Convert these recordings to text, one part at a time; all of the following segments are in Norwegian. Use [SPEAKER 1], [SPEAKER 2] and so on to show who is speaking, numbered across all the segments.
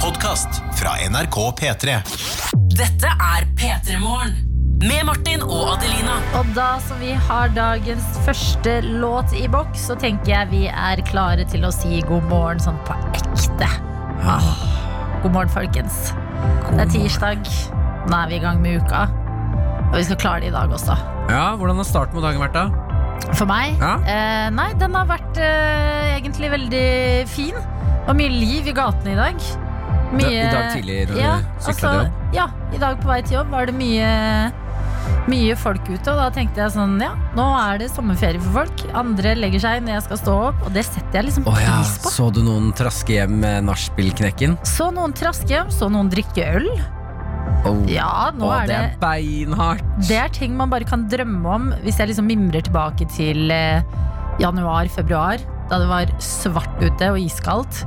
[SPEAKER 1] podkast fra NRK P3.
[SPEAKER 2] Dette er P3 Morgen. Med Martin og Adelina.
[SPEAKER 3] Og da som vi har dagens første låt i boks, så tenker jeg vi er klare til å si god morgen sånn på ekte.
[SPEAKER 4] Ah.
[SPEAKER 3] Åh. God morgen, folkens. Det er tirsdag. Nå er vi i gang med uka. Og vi skal klare det i dag også.
[SPEAKER 4] Ja, Hvordan har starten på dagen vært? da?
[SPEAKER 3] For meg?
[SPEAKER 4] Ja.
[SPEAKER 3] Eh, nei, den har vært eh, egentlig veldig fin. Og mye liv i gatene i dag.
[SPEAKER 4] Da- i dag tidlig når du
[SPEAKER 3] ja,
[SPEAKER 4] syklet til
[SPEAKER 3] altså,
[SPEAKER 4] jobb?
[SPEAKER 3] Ja, i dag på vei til jobb var det mye, mye folk ute. Og da tenkte jeg sånn, ja, nå er det sommerferie for folk. Andre legger seg når jeg skal stå opp, og det setter jeg liksom
[SPEAKER 4] Å ja,
[SPEAKER 3] pris på.
[SPEAKER 4] Så du noen traske hjem med nachspielknekken?
[SPEAKER 3] Så noen traske, så noen drikke øl.
[SPEAKER 4] Oh.
[SPEAKER 3] Ja, nå
[SPEAKER 4] Å,
[SPEAKER 3] er
[SPEAKER 4] det
[SPEAKER 3] det
[SPEAKER 4] er beinhardt.
[SPEAKER 3] Det er ting man bare kan drømme om hvis jeg liksom mimrer tilbake til eh, januar-februar, da det var svart ute og iskaldt.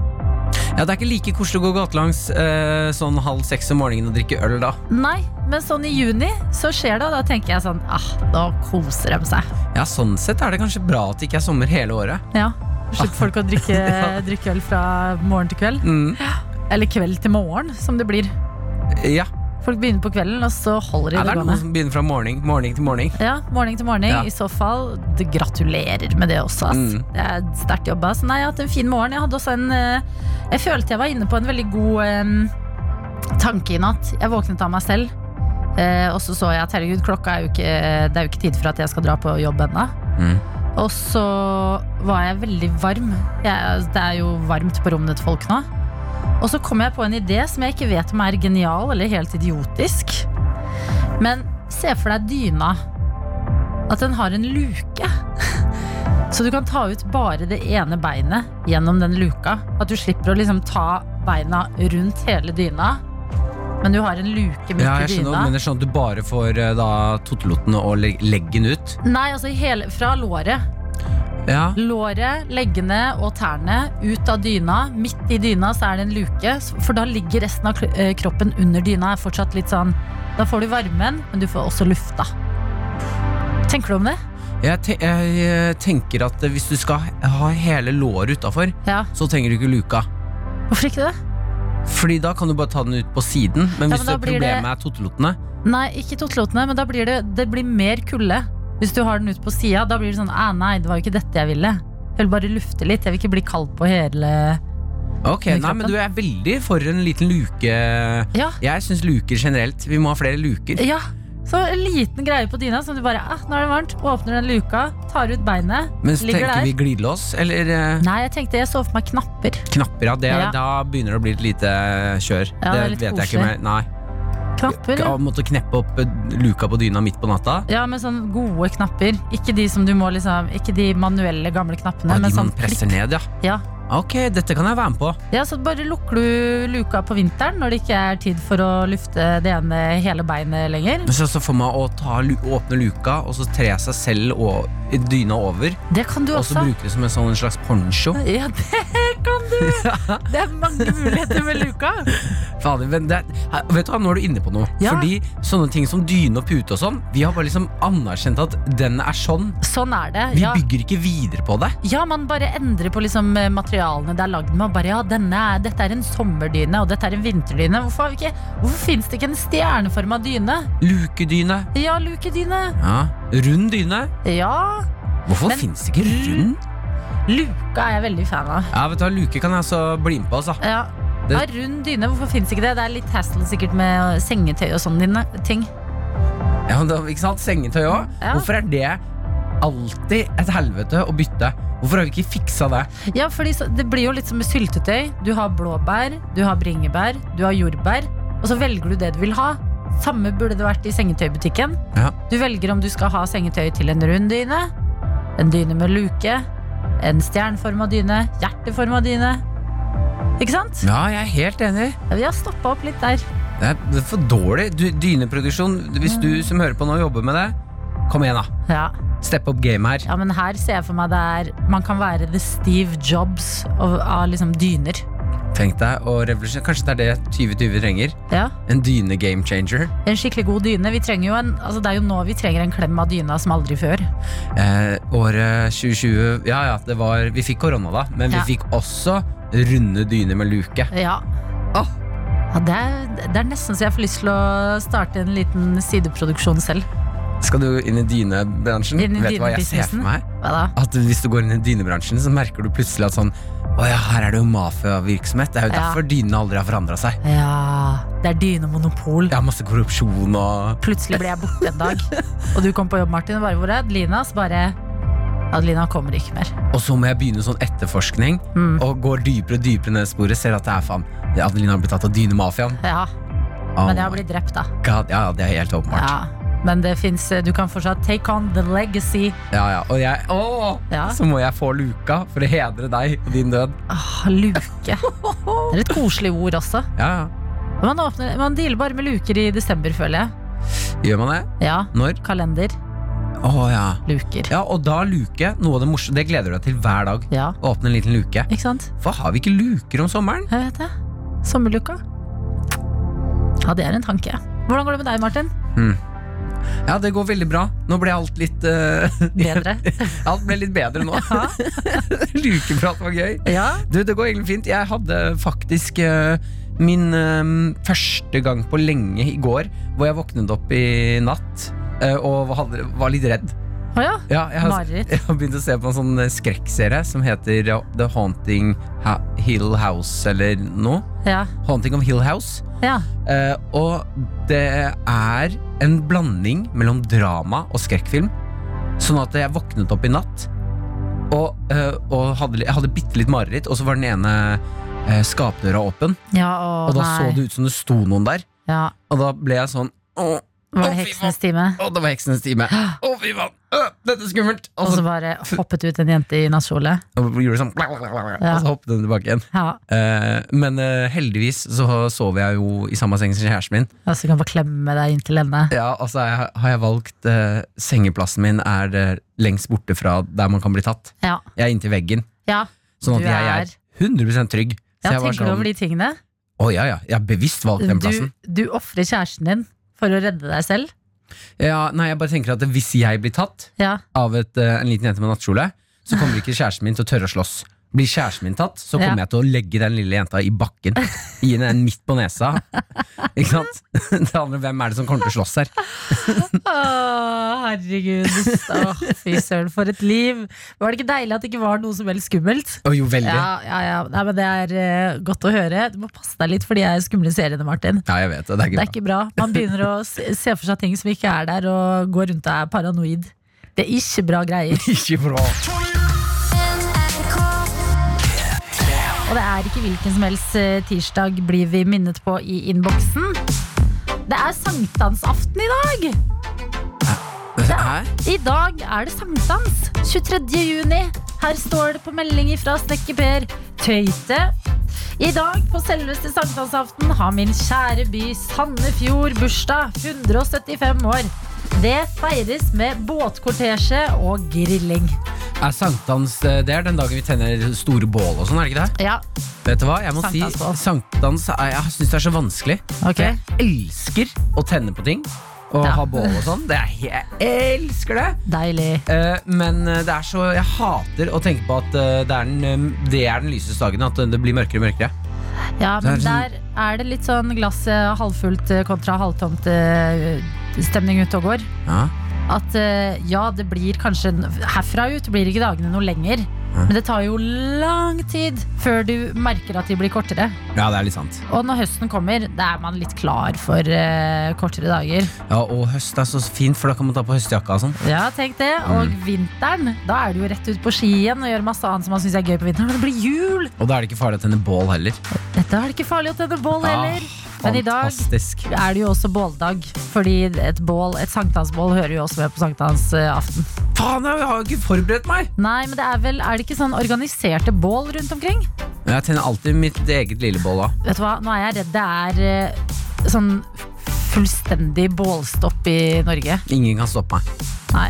[SPEAKER 4] Ja, det er ikke like koselig å gå gatelangs eh, sånn halv seks om morgenen og drikke øl da.
[SPEAKER 3] Nei, men sånn i juni så skjer det, og da tenker jeg sånn ah, nå koser de seg.
[SPEAKER 4] Ja, Sånn sett er det kanskje bra at det ikke er sommer hele året.
[SPEAKER 3] Ja. Slutt folk å drikke,
[SPEAKER 4] Ah. Ja.
[SPEAKER 3] drikke øl fra morgen til kveld.
[SPEAKER 4] Mm.
[SPEAKER 3] Eller kveld til morgen, som det blir.
[SPEAKER 4] Ja,
[SPEAKER 3] Folk begynner på kvelden, og så holder
[SPEAKER 4] ja,
[SPEAKER 3] de
[SPEAKER 4] Det
[SPEAKER 3] det
[SPEAKER 4] er noen
[SPEAKER 3] gående.
[SPEAKER 4] som begynner fra morgen, morgen til morgen.
[SPEAKER 3] Ja, morgen til morgen.
[SPEAKER 4] Ja.
[SPEAKER 3] I så fall, det gratulerer med det også. Ass.
[SPEAKER 4] Mm.
[SPEAKER 3] Det er sterkt jobba. Så nei, jeg har hatt en fin morgen. Jeg hadde også en eh, Jeg følte jeg var inne på en veldig god eh, tanke i natt. Jeg våknet av meg selv, eh, og så så jeg at herregud, klokka er jo ikke Det er jo ikke tid for at jeg skal dra på jobb ennå.
[SPEAKER 4] Mm.
[SPEAKER 3] Og så var jeg veldig varm. Jeg, altså, det er jo varmt på rommene til folk nå. Og så kom jeg på en idé som jeg ikke vet om er genial eller helt idiotisk. Men se for deg dyna. At den har en luke. Så du kan ta ut bare det ene beinet gjennom den luka. At du slipper å liksom ta beina rundt hele dyna. Men du har en luke midt
[SPEAKER 4] Ja,
[SPEAKER 3] i
[SPEAKER 4] jeg skjønner,
[SPEAKER 3] dyna.
[SPEAKER 4] hva du mener sånn at du bare får eh, da totelottene og leg- leggen ut.
[SPEAKER 3] Nei, altså hele, fra låret.
[SPEAKER 4] Ja,
[SPEAKER 3] Låret, leggene og tærne ut av dyna. Midt i dyna så er det en luke, for da ligger resten av kl- eh, kroppen under dyna. Er fortsatt litt sånn Da får du varmen, men du får også lufta. Tenker du om det?
[SPEAKER 4] jeg, te jeg eh, tenker at eh, hvis du skal ha hele låret utafor,
[SPEAKER 3] Ja.
[SPEAKER 4] så trenger du ikke luka.
[SPEAKER 3] Hvorfor ikke det?
[SPEAKER 4] Fordi da kan du bare ta den ut på siden. Men
[SPEAKER 3] Ja,
[SPEAKER 4] hvis
[SPEAKER 3] men da
[SPEAKER 4] det
[SPEAKER 3] blir det-
[SPEAKER 4] problemet er totelottene
[SPEAKER 3] Nei, ikke totelotene, men da blir det, det blir mer kulde. Hvis du har den ut på sida, da blir det sånn Æ, nei, det var jo ikke dette jeg ville. Jeg vil bare lufte litt. Jeg vil ikke bli kald på hele
[SPEAKER 4] Ok,
[SPEAKER 3] Under
[SPEAKER 4] nei,
[SPEAKER 3] kroppen.
[SPEAKER 4] men du jeg er veldig for en liten luke.
[SPEAKER 3] Ja.
[SPEAKER 4] Jeg syns luker generelt. Vi må ha flere luker.
[SPEAKER 3] Ja. Så en liten greie på dyna som du bare Æ, nå er det varmt. Åpner den luka, tar ut beinet,
[SPEAKER 4] Men så
[SPEAKER 3] ligger
[SPEAKER 4] tenker
[SPEAKER 3] der.
[SPEAKER 4] vi glidelås eller eh,
[SPEAKER 3] Nei, jeg tenkte jeg så for meg knapper.
[SPEAKER 4] knapper. Ja, det,
[SPEAKER 3] Ja.
[SPEAKER 4] Da begynner det å bli et lite eh, kjør.
[SPEAKER 3] Ja, det er litt
[SPEAKER 4] vet jeg ikke
[SPEAKER 3] koselig.
[SPEAKER 4] mer. Nei.
[SPEAKER 3] Knapper?
[SPEAKER 4] Å
[SPEAKER 3] Ja.
[SPEAKER 4] måtte kneppe opp eh, luka på dyna midt på natta.
[SPEAKER 3] Ja, men sånn gode knapper. Ikke de som du må liksom Ikke de manuelle, gamle knappene.
[SPEAKER 4] Nei,
[SPEAKER 3] men
[SPEAKER 4] de man
[SPEAKER 3] sånn
[SPEAKER 4] presser ned, ja.
[SPEAKER 3] prikk- Ja.
[SPEAKER 4] Ok, dette kan jeg være med på.
[SPEAKER 3] ja, så bare lukker du luka på vinteren når det ikke er tid for å lufte det ene hele beinet lenger.
[SPEAKER 4] Men så så for meg å ta, lu- åpne luka og så tre seg selv og dyna over.
[SPEAKER 3] Det kan du
[SPEAKER 4] Og så
[SPEAKER 3] også.
[SPEAKER 4] bruke det som en sånn en slags poncho.
[SPEAKER 3] Ja, det kan du! Det er mange muligheter med luka.
[SPEAKER 4] Fader, men det, her- vet du hva, Nå er du inne på noe.
[SPEAKER 3] Ja.
[SPEAKER 4] Fordi sånne ting som dyne og pute og sånn, vi har bare liksom anerkjent at den er sånn.
[SPEAKER 3] Sånn er det.
[SPEAKER 4] Vi
[SPEAKER 3] Ja.
[SPEAKER 4] bygger ikke videre på det.
[SPEAKER 3] ja, man bare endrer på liksom materialene det er lagd med. og Bare, ja, denne er, dette er en sommerdyne, og dette er en vinterdyne. Hvorfor, har vi ikke- hvorfor fins det ikke en stjerneforma dyne?
[SPEAKER 4] Lukedyne.
[SPEAKER 3] Ja, lukedyne.
[SPEAKER 4] Ja. Rund dyne.
[SPEAKER 3] Ja,
[SPEAKER 4] Hvorfor
[SPEAKER 3] Men-
[SPEAKER 4] finnes det ikke rund?
[SPEAKER 3] luka er jeg veldig fan av.
[SPEAKER 4] Ja, vet du hva, Luke kan jeg altså bli med på. Altså.
[SPEAKER 3] Ja.
[SPEAKER 4] Det-
[SPEAKER 3] Ja, rund dyne, hvorfor fins ikke det? Det er litt hassle sikkert med sengetøy og sånne dine- ting.
[SPEAKER 4] Ja, men da, ikke sant? Sengetøy òg.
[SPEAKER 3] Ja.
[SPEAKER 4] Hvorfor er det alltid et helvete å bytte? Hvorfor har vi ikke fiksa det?
[SPEAKER 3] Ja, fordi så- Det blir jo litt som med syltetøy. Du har blåbær, du har bringebær, du har jordbær. Og så velger du det du vil ha. Samme burde det vært i sengetøybutikken.
[SPEAKER 4] Ja.
[SPEAKER 3] Du velger om du skal ha sengetøy til en rund dyne, en dyne med luke, en stjerneforma dyne, hjerteforma dyne. Ikke sant?
[SPEAKER 4] Ja, jeg er helt enig.
[SPEAKER 3] Ja, vi har stoppa opp litt der.
[SPEAKER 4] Det er, det er for dårlig. Du, dyneproduksjon, hvis du som hører på nå jobber med det, kom igjen, da.
[SPEAKER 3] Ja.
[SPEAKER 4] Step up game her.
[SPEAKER 3] Ja, men her ser jeg for meg det er Man kan være the Steve Jobs av, av liksom dyner.
[SPEAKER 4] Tenk deg å revolusjonere. Kanskje det er det 2020 trenger?
[SPEAKER 3] Ja.
[SPEAKER 4] En dyne game changer.
[SPEAKER 3] En skikkelig god dyne. Vi trenger jo en, altså det er jo nå vi trenger en klem av dyna som aldri før.
[SPEAKER 4] Eh, året 2020 Ja ja, det var, vi fikk korona da, men
[SPEAKER 3] Ja.
[SPEAKER 4] vi fikk også runde dyner med luke.
[SPEAKER 3] Ja.
[SPEAKER 4] Åh,
[SPEAKER 3] Ja, det, er, det er nesten så jeg får lyst til å starte en liten sideproduksjon selv.
[SPEAKER 4] Skal du inn i dynebransjen?
[SPEAKER 3] Inn i
[SPEAKER 4] Vet du hva jeg ser
[SPEAKER 3] dynebusinessen?
[SPEAKER 4] for meg?
[SPEAKER 3] Hva da?
[SPEAKER 4] At Hvis du går inn i dynebransjen, så merker du plutselig at sånn Å ja, her er det jo mafiavirksomhet. Det er jo
[SPEAKER 3] Ja.
[SPEAKER 4] derfor dynene aldri har forandra seg.
[SPEAKER 3] Ja, det er dynemonopol.
[SPEAKER 4] Det er masse korrupsjon og
[SPEAKER 3] Plutselig ble jeg borte en dag, og du kom på jobb, Martin, og bare hvor er Adelina? Så bare Adelina kommer ikke mer.
[SPEAKER 4] Og så må jeg begynne sånn etterforskning
[SPEAKER 3] Mm.
[SPEAKER 4] og går dypere og dypere ned i sporet. Ser at det er faen Adelina har blitt tatt av dynemafiaen.
[SPEAKER 3] Ja,
[SPEAKER 4] Oh
[SPEAKER 3] men jeg har
[SPEAKER 4] my
[SPEAKER 3] blitt drept, da.
[SPEAKER 4] God, ja, det er helt åpenbart.
[SPEAKER 3] Ja. Men det fins Du kan fortsatt take on the legacy.
[SPEAKER 4] Ja. Ja, Og jeg, åh,
[SPEAKER 3] Ja.
[SPEAKER 4] så må jeg få luka for å hedre deg og din død.
[SPEAKER 3] Åh, Ah, luke. Det er et koselig ord også.
[SPEAKER 4] Ja, ja.
[SPEAKER 3] Man, åpner, man dealer bare med luker i desember, føler jeg.
[SPEAKER 4] Gjør man det?
[SPEAKER 3] Ja.
[SPEAKER 4] Når?
[SPEAKER 3] Kalender.
[SPEAKER 4] Å ja.
[SPEAKER 3] Luker.
[SPEAKER 4] ja. Og da luke. Noe av det morsomme. Det gleder du deg til hver dag.
[SPEAKER 3] Ja.
[SPEAKER 4] Åpne en liten luke.
[SPEAKER 3] Ikke sant?
[SPEAKER 4] Hvorfor har vi ikke luker om sommeren?
[SPEAKER 3] Jeg vet det. Sommerluka. Ja, det er en tanke. Hvordan går det med deg, Martin?
[SPEAKER 4] Ja, det går veldig bra. Nå ble alt litt eh,
[SPEAKER 3] Bedre?
[SPEAKER 4] Alt ble litt bedre nå.
[SPEAKER 3] Ja.
[SPEAKER 4] Lukeprat var gøy.
[SPEAKER 3] ja.
[SPEAKER 4] Du, det går egentlig fint. Jeg hadde faktisk eh, min eh, første gang på lenge i går hvor jeg våknet opp i natt eh, og hadde, var litt redd.
[SPEAKER 3] Å ja.
[SPEAKER 4] Ja, jeg, har,
[SPEAKER 3] Mareritt.
[SPEAKER 4] jeg har begynt å se på en sånn eh, skrekkserie som heter eh, The Haunting ha Hill House eller noe.
[SPEAKER 3] Ja.
[SPEAKER 4] Haunting of Hill House.
[SPEAKER 3] ja.
[SPEAKER 4] Eh, og det er en blanding mellom drama og skrekkfilm. Sånn at jeg våknet opp i natt og, eh, og hadde, jeg hadde bitte litt mareritt, og så var den ene eh, skapdøra åpen.
[SPEAKER 3] ja å,
[SPEAKER 4] og da
[SPEAKER 3] nei.
[SPEAKER 4] så det ut som det sto noen der.
[SPEAKER 3] Ja.
[SPEAKER 4] Og da ble jeg sånn Å,
[SPEAKER 3] Var
[SPEAKER 4] Å,
[SPEAKER 3] det
[SPEAKER 4] fy
[SPEAKER 3] heksens time?
[SPEAKER 4] å, det var heksens time! Å, fy faen! Øh, dette er skummelt! Og
[SPEAKER 3] Og
[SPEAKER 4] så
[SPEAKER 3] så bare hoppet ut en jente i nattkjole.
[SPEAKER 4] og gjorde det sånn, og så hoppet den tilbake igjen.
[SPEAKER 3] Ja.
[SPEAKER 4] Eh, men eh, heldigvis så sover jeg jo i samme seng som kjæresten min.
[SPEAKER 3] Og så kan bare klemme deg inntil henne.
[SPEAKER 4] Ja, altså jeg, har jeg valgt eh, Sengeplassen min er eh, lengst borte fra der man kan bli tatt.
[SPEAKER 3] Ja.
[SPEAKER 4] Jeg er inntil veggen,
[SPEAKER 3] ja.
[SPEAKER 4] sånn
[SPEAKER 3] Du
[SPEAKER 4] at jeg er 100 trygg. Så
[SPEAKER 3] Ja,
[SPEAKER 4] jeg var
[SPEAKER 3] tenker du
[SPEAKER 4] sånn,
[SPEAKER 3] over de tingene?
[SPEAKER 4] «Å, ja, ja, jeg har bevisst valgt den
[SPEAKER 3] Du,
[SPEAKER 4] plassen.
[SPEAKER 3] du ofrer kjæresten din for å redde deg selv?
[SPEAKER 4] Ja, nei, jeg bare tenker at Hvis jeg blir tatt
[SPEAKER 3] Ja.
[SPEAKER 4] av et, eh, en liten jente med nattkjole, så kommer ikke kjæresten min til å tørre å slåss. Blir kjæresten min tatt, så kommer
[SPEAKER 3] Ja.
[SPEAKER 4] jeg til å legge den lille jenta i bakken. Gi henne en midt på nesa. Ikke sant? Det handler om hvem er det som kommer til å slåss her.
[SPEAKER 3] Å, herregud. Åh, fy søren, for et liv. Var det ikke deilig at det ikke var noe som helst skummelt?
[SPEAKER 4] Å, jo, veldig. Ja.
[SPEAKER 3] Ja, ja, ja. Nei, men det er eh, godt å høre. Du må passe deg litt for de er skumle seriene, Martin.
[SPEAKER 4] jeg vet det. Det er
[SPEAKER 3] Det
[SPEAKER 4] ikke
[SPEAKER 3] er ikke
[SPEAKER 4] bra.
[SPEAKER 3] bra. Man begynner å se se for seg ting som ikke er der, og går rundt og er paranoid. Det er ikke bra greier.
[SPEAKER 4] Ikke bra.
[SPEAKER 3] Og det er ikke hvilken som helst eh, tirsdag blir vi minnet på i innboksen. Det er sankthansaften i dag!
[SPEAKER 4] Hæ?
[SPEAKER 3] I dag er det sankthans. 23. juni. Her står det på melding fra snekker Per Tøyte. I dag, på selveste sankthansaften, har min kjære by Sandefjord bursdag. 175 år. Det feires med båtkortesje og grilling.
[SPEAKER 4] Er sankthans eh, det er den dagen vi tenner store bål og sånn, er det ikke det?
[SPEAKER 3] Ja,
[SPEAKER 4] Vet du hva, jeg må si
[SPEAKER 3] Sankthansbål.
[SPEAKER 4] sankthans er, Jeg syns det er så vanskelig.
[SPEAKER 3] Ok.
[SPEAKER 4] Jeg elsker å tenne på ting og
[SPEAKER 3] Ja.
[SPEAKER 4] ha bål og sånn. Det er, jeg elsker det!
[SPEAKER 3] deilig.
[SPEAKER 4] Eh, men eh, det er så Jeg hater å tenke på at eh, det, er den, eh, det er den lyseste dagen, at eh, det blir mørkere og mørkere.
[SPEAKER 3] Ja, men
[SPEAKER 4] Det er sånn-
[SPEAKER 3] der er det litt sånn glasset halvfullt eh, kontra halvtomt eh, stemning ute og går.
[SPEAKER 4] Ja.
[SPEAKER 3] At eh, ja, det blir kanskje Herfra ut blir ikke dagene noe lenger. Men det tar jo lang tid før du merker at de blir kortere.
[SPEAKER 4] ja, det er litt sant.
[SPEAKER 3] Og når høsten kommer, da er man litt klar for eh, kortere dager.
[SPEAKER 4] Ja, Og høst er så fint, for da kan man ta på høstjakka og sånn.
[SPEAKER 3] Ja, tenk det. Og
[SPEAKER 4] Mm.
[SPEAKER 3] vinteren, da er det jo rett ut på ski igjen og gjøre masse annet som man syns er gøy på vinteren. Men det blir jul!
[SPEAKER 4] Og da er det ikke farlig å tenne bål heller.
[SPEAKER 3] Dette er det ikke farlig å tenne bål heller.
[SPEAKER 4] Ah,
[SPEAKER 3] Men i dag
[SPEAKER 4] fantastisk.
[SPEAKER 3] er det jo også båldag. Fordi et bål, et sankthansbål hører jo også med på sankthansaften.
[SPEAKER 4] Faen, jeg har jo ikke forberedt meg!
[SPEAKER 3] Nei, men det er vel Er det ikke sånn organiserte bål rundt omkring?
[SPEAKER 4] Jeg tenner alltid mitt eget lille bål da.
[SPEAKER 3] Vet du hva, nå er jeg redd det er eh, sånn fullstendig bålstopp i Norge.
[SPEAKER 4] Ingen kan stoppe meg.
[SPEAKER 3] Nei.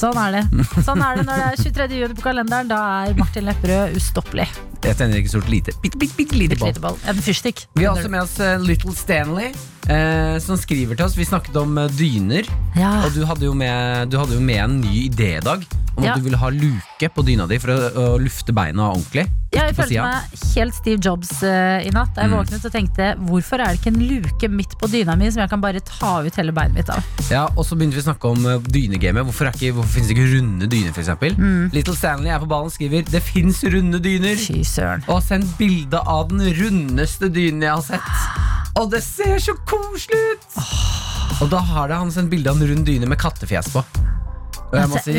[SPEAKER 3] Sånn er det. Sånn er det når det er 23. juni på kalenderen. Da er Martin Lepperød ustoppelig.
[SPEAKER 4] Jeg tenner ikke stort lite. Bitte, bitte, bitte lite
[SPEAKER 3] Bitte
[SPEAKER 4] bål.
[SPEAKER 3] lite ball. En fyrstikk.
[SPEAKER 4] Vi har også med oss eh, Little Stanley, eh, som skriver til oss. Vi snakket om eh, dyner,
[SPEAKER 3] Ja.
[SPEAKER 4] og du hadde, jo med, du hadde jo med en ny idé i dag. om
[SPEAKER 3] Ja.
[SPEAKER 4] at du ville ha luke på dyna di for å, å lufte beina ordentlig.
[SPEAKER 3] Ja, jeg
[SPEAKER 4] Ikke på
[SPEAKER 3] følte
[SPEAKER 4] siden.
[SPEAKER 3] meg helt Steve Jobs eh, i natt. Da
[SPEAKER 4] Mm.
[SPEAKER 3] jeg våknet og tenkte hvorfor er det ikke en luke midt på dyna mi som jeg kan bare ta ut hele beinet mitt av?
[SPEAKER 4] Ja, og så begynte vi å snakke om eh, dynegamet. Hvorfor, er ikke, hvorfor finnes det ikke runde dyner, f.eks.? eksempel
[SPEAKER 3] Mm.
[SPEAKER 4] Little Stanley er på ballen skriver 'Det fins runde dyner'.
[SPEAKER 3] Fy søren.
[SPEAKER 4] Og send bilde av den rundeste dynen jeg har sett. Og det ser så koselig ut! Og da har det han sendt bilde av en rund dyne med kattefjes på. Og jeg må si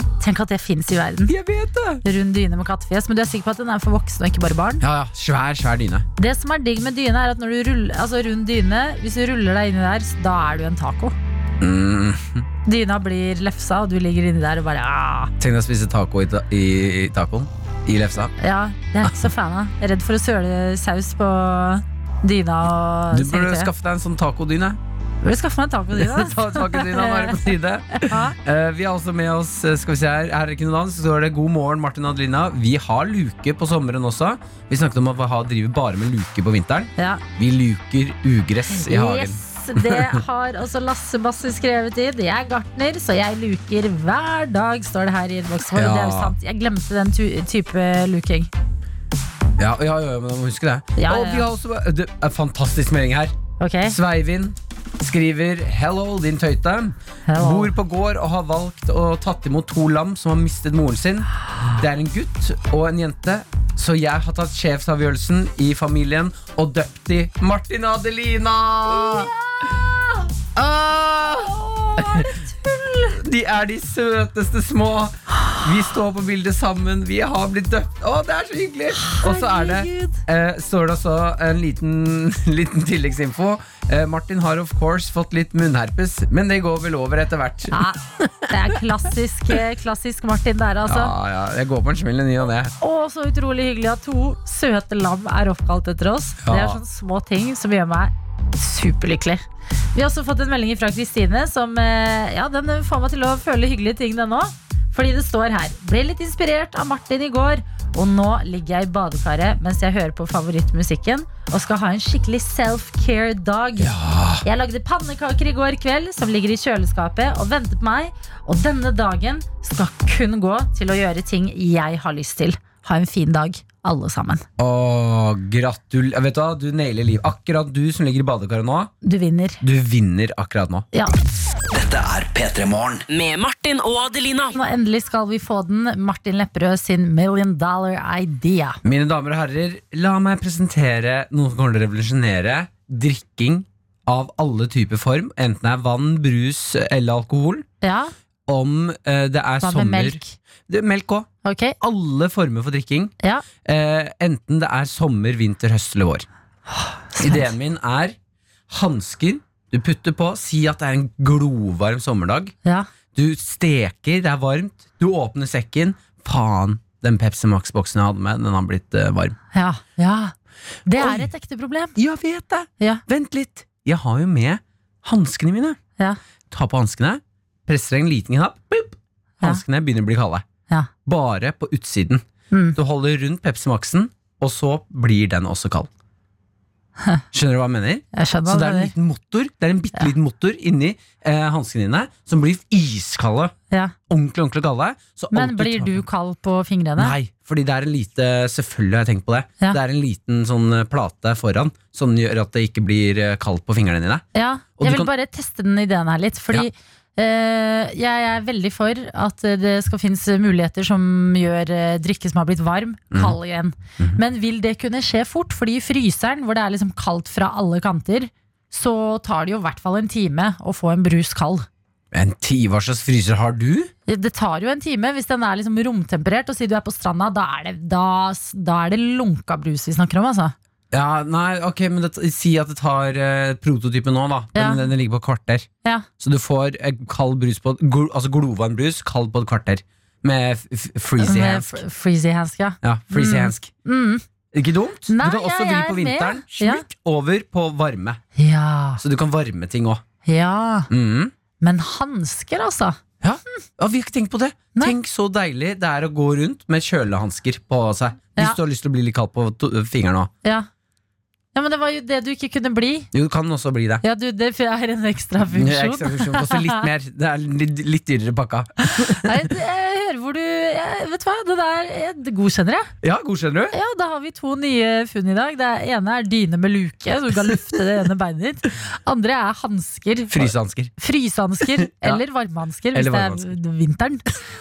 [SPEAKER 3] Ja,
[SPEAKER 4] jeg,
[SPEAKER 3] men Altså,
[SPEAKER 4] har,
[SPEAKER 3] det, Tenk at det fins i verden.
[SPEAKER 4] jeg vet det!
[SPEAKER 3] Rund dyne med kattefjes. Men du er sikker på at den er for voksne og ikke bare barn?
[SPEAKER 4] Ja, ja, Svær, svær dyne.
[SPEAKER 3] Det som er digg med dyne, er at når du ruller, altså rund dyne, hvis du ruller deg inni der, da er du en taco.
[SPEAKER 4] Mm.
[SPEAKER 3] Dyna blir lefsa, og du ligger inni der og bare ah.
[SPEAKER 4] Tenk deg å spise taco i, ta i, i tacoen. I lefsa.
[SPEAKER 3] Ja, det er jeg ikke så fan av. Jeg er redd for å søle saus på dyna og
[SPEAKER 4] Du burde
[SPEAKER 3] sengetøyet.
[SPEAKER 4] skaffe deg en sånn tacodyne.
[SPEAKER 3] Burde skaffe meg en tacodyne. da.
[SPEAKER 4] Ta tacodyna, nå er det på tide.
[SPEAKER 3] Ja.
[SPEAKER 4] Eh, vi har også med oss eh, skal vi se her, her er det ikke noe annet, så står det 'God morgen, Martin og Adelina'. Vi har luke på sommeren også. Vi snakket om at vi har- driver bare med luke på vinteren.
[SPEAKER 3] Ja.
[SPEAKER 4] Vi luker ugress i hagen.
[SPEAKER 3] Yes, det har også Lasse Basse skrevet i. Jeg er gartner, så jeg luker hver dag, står det her i innboksen vår.
[SPEAKER 4] Ja.
[SPEAKER 3] Det er jo sant. Jeg glemte den tu type luking.
[SPEAKER 4] Ja, ja, ja, men jeg må huske det.
[SPEAKER 3] Ja,
[SPEAKER 4] og
[SPEAKER 3] ja, ja.
[SPEAKER 4] vi har også det er en Fantastisk melding her.
[SPEAKER 3] Ok?
[SPEAKER 4] Sveivind skriver 'Hello, din tøyte'.
[SPEAKER 3] Hello.
[SPEAKER 4] Bor på gård og har valgt å tatt imot to lam som har mistet moren sin. Det er en gutt og en jente, så jeg har tatt sjefsavgjørelsen i familien og døpt de Martin og Adelina. Ah! De er de søteste små. Vi står på bildet sammen. Vi har blitt døpt. Å, det er så hyggelig! Og så er det
[SPEAKER 3] Herregud.
[SPEAKER 4] Eh, står det også en liten, liten tilleggsinfo. Eh, Martin har of course fått litt munnherpes, men det går vel over etter hvert. Ja,
[SPEAKER 3] Ja, det er klassisk, eh, klassisk Martin der, altså.
[SPEAKER 4] ja, jeg går på en smell i ny og ne.
[SPEAKER 3] Og så utrolig hyggelig at to søte lam er oppkalt etter oss. Det
[SPEAKER 4] Ja.
[SPEAKER 3] er sånne små ting som gjør meg superlykkelig. Vi har også fått en melding fra Kristine som eh, ja, den får meg til å føle hyggelige ting, den òg. Fordi det står her Ble litt inspirert av Martin i går, og nå ligger jeg i badekaret mens jeg hører på favorittmusikken og skal ha en skikkelig self-care-dag. Jeg lagde pannekaker i går kveld som ligger i kjøleskapet og venter på meg. Og denne dagen skal kun gå til å gjøre ting jeg har lyst til. Ha en fin dag, alle sammen.
[SPEAKER 4] Åh, gratul... Vet du hva, du nailer liv. Akkurat du som ligger i badekaret nå,
[SPEAKER 3] Du vinner.
[SPEAKER 4] du vinner akkurat nå.
[SPEAKER 3] Ja,
[SPEAKER 2] Med Martin og Adelina.
[SPEAKER 3] nå endelig skal vi få den. Martin Lepperød sin Million Dollar Idea.
[SPEAKER 4] Mine damer og herrer, la meg presentere noe som kommer til å revolusjonere drikking av alle typer form, enten det er vann, brus eller alkohol.
[SPEAKER 3] Ja,
[SPEAKER 4] Om eh, det
[SPEAKER 3] hva
[SPEAKER 4] er
[SPEAKER 3] med
[SPEAKER 4] sommer
[SPEAKER 3] melk?
[SPEAKER 4] Det- Melk òg.
[SPEAKER 3] Ok,
[SPEAKER 4] alle former for drikking.
[SPEAKER 3] ja.
[SPEAKER 4] Eh, enten det er sommer, vinter, høst eller vår. Ideen min er hansker du putter på. Si at det er en glovarm sommerdag.
[SPEAKER 3] Ja.
[SPEAKER 4] Du steker, det er varmt. Du åpner sekken. Faen, den Pepsi Max-boksen jeg hadde med, den har blitt eh, varm.
[SPEAKER 3] Ja. ja. Det
[SPEAKER 4] Oi.
[SPEAKER 3] er et ekte problem.
[SPEAKER 4] Ja, vet det!
[SPEAKER 3] Ja.
[SPEAKER 4] Vent litt. Jeg har jo med hanskene mine.
[SPEAKER 3] Ja.
[SPEAKER 4] Ta på hanskene, presser en liten knapp. boop.
[SPEAKER 3] Ja.
[SPEAKER 4] Hanskene begynner å bli kalde.
[SPEAKER 3] Ja.
[SPEAKER 4] Bare på utsiden.
[SPEAKER 3] Mm.
[SPEAKER 4] Du holder rundt Pepsi Max-en, og så blir den også kald. Skjønner du hva jeg mener?
[SPEAKER 3] Jeg skjønner
[SPEAKER 4] Så
[SPEAKER 3] hva
[SPEAKER 4] det
[SPEAKER 3] du
[SPEAKER 4] er en
[SPEAKER 3] mener.
[SPEAKER 4] liten motor Det er en bitte liten motor inni eh, hanskene dine som blir iskalde.
[SPEAKER 3] Ja.
[SPEAKER 4] Ordentlig, ordentlig kalde. Så
[SPEAKER 3] Men
[SPEAKER 4] alt
[SPEAKER 3] blir
[SPEAKER 4] tar-
[SPEAKER 3] du kald på fingrene?
[SPEAKER 4] Nei, fordi det er en lite Selvfølgelig har jeg tenkt på det.
[SPEAKER 3] Ja.
[SPEAKER 4] Det er en liten sånn eh, plate foran som gjør at det ikke blir eh, kaldt på fingrene dine.
[SPEAKER 3] Ja,
[SPEAKER 4] Og
[SPEAKER 3] jeg
[SPEAKER 4] du
[SPEAKER 3] vil
[SPEAKER 4] kan-
[SPEAKER 3] bare teste den ideen her litt, fordi eh, jeg er veldig for at det skal finnes muligheter som gjør eh, drikke som har blitt varm,
[SPEAKER 4] Mhm.
[SPEAKER 3] kald igjen. Men vil det kunne skje fort? Fordi i fryseren, hvor det er liksom kaldt fra alle kanter, så tar det jo i hvert fall en time å få en brus kald.
[SPEAKER 4] En ti, hva slags fryser har du?
[SPEAKER 3] Det tar jo en time hvis den er liksom romtemperert, og si du er på stranda, da er det, da, da er det lunka brus vi snakker om, altså.
[SPEAKER 4] Ja, nei, ok, men det, Si at det tar eh, prototypen nå, da.
[SPEAKER 3] Ja.
[SPEAKER 4] Den, den ligger på et kvarter.
[SPEAKER 3] Ja.
[SPEAKER 4] Så du får eh, kald brus på gl, Altså glovarm brus kald på et kvarter. Med f- f- freezy
[SPEAKER 3] Med
[SPEAKER 4] hands.
[SPEAKER 3] fr- Sånn, eh, Freezy hands, ja.
[SPEAKER 4] Ja, freezy hands.
[SPEAKER 3] Mm.
[SPEAKER 4] Ikke dumt?
[SPEAKER 3] Nei,
[SPEAKER 4] du kan også
[SPEAKER 3] jeg
[SPEAKER 4] vri
[SPEAKER 3] er
[SPEAKER 4] på
[SPEAKER 3] med.
[SPEAKER 4] vinteren.
[SPEAKER 3] Ja.
[SPEAKER 4] Smykk over på varme.
[SPEAKER 3] Ja.
[SPEAKER 4] Så du kan varme ting òg.
[SPEAKER 3] ja.
[SPEAKER 4] Mhm.
[SPEAKER 3] Men hansker, altså.
[SPEAKER 4] Ja. ja, vi har ikke tenkt på det.
[SPEAKER 3] Nei.
[SPEAKER 4] Tenk så deilig det er å gå rundt med kjølehansker på seg. Hvis
[SPEAKER 3] Ja.
[SPEAKER 4] du har lyst til å bli litt kald på to- fingeren òg.
[SPEAKER 3] Ja. Ja, men det var jo det du ikke kunne bli.
[SPEAKER 4] Jo, det kan også bli det.
[SPEAKER 3] Ja, du, det er en ekstra funksjon.
[SPEAKER 4] Det er ekstra funksjon, koster litt mer. Det er litt, litt dyrere pakka.
[SPEAKER 3] Nei, det- jeg hører hvor du jeg, Vet du hva, det der jeg- det godkjenner jeg.
[SPEAKER 4] Ja, godskjønner du?
[SPEAKER 3] Ja, Da har vi to nye funn i dag. Det ene er dyne med luke, så du kan løfte det ene beinet ditt. Andre er hansker.
[SPEAKER 4] Frysehansker.
[SPEAKER 3] Frysehansker
[SPEAKER 4] Ja.
[SPEAKER 3] eller varmehansker hvis
[SPEAKER 4] Eller
[SPEAKER 3] det er vinteren.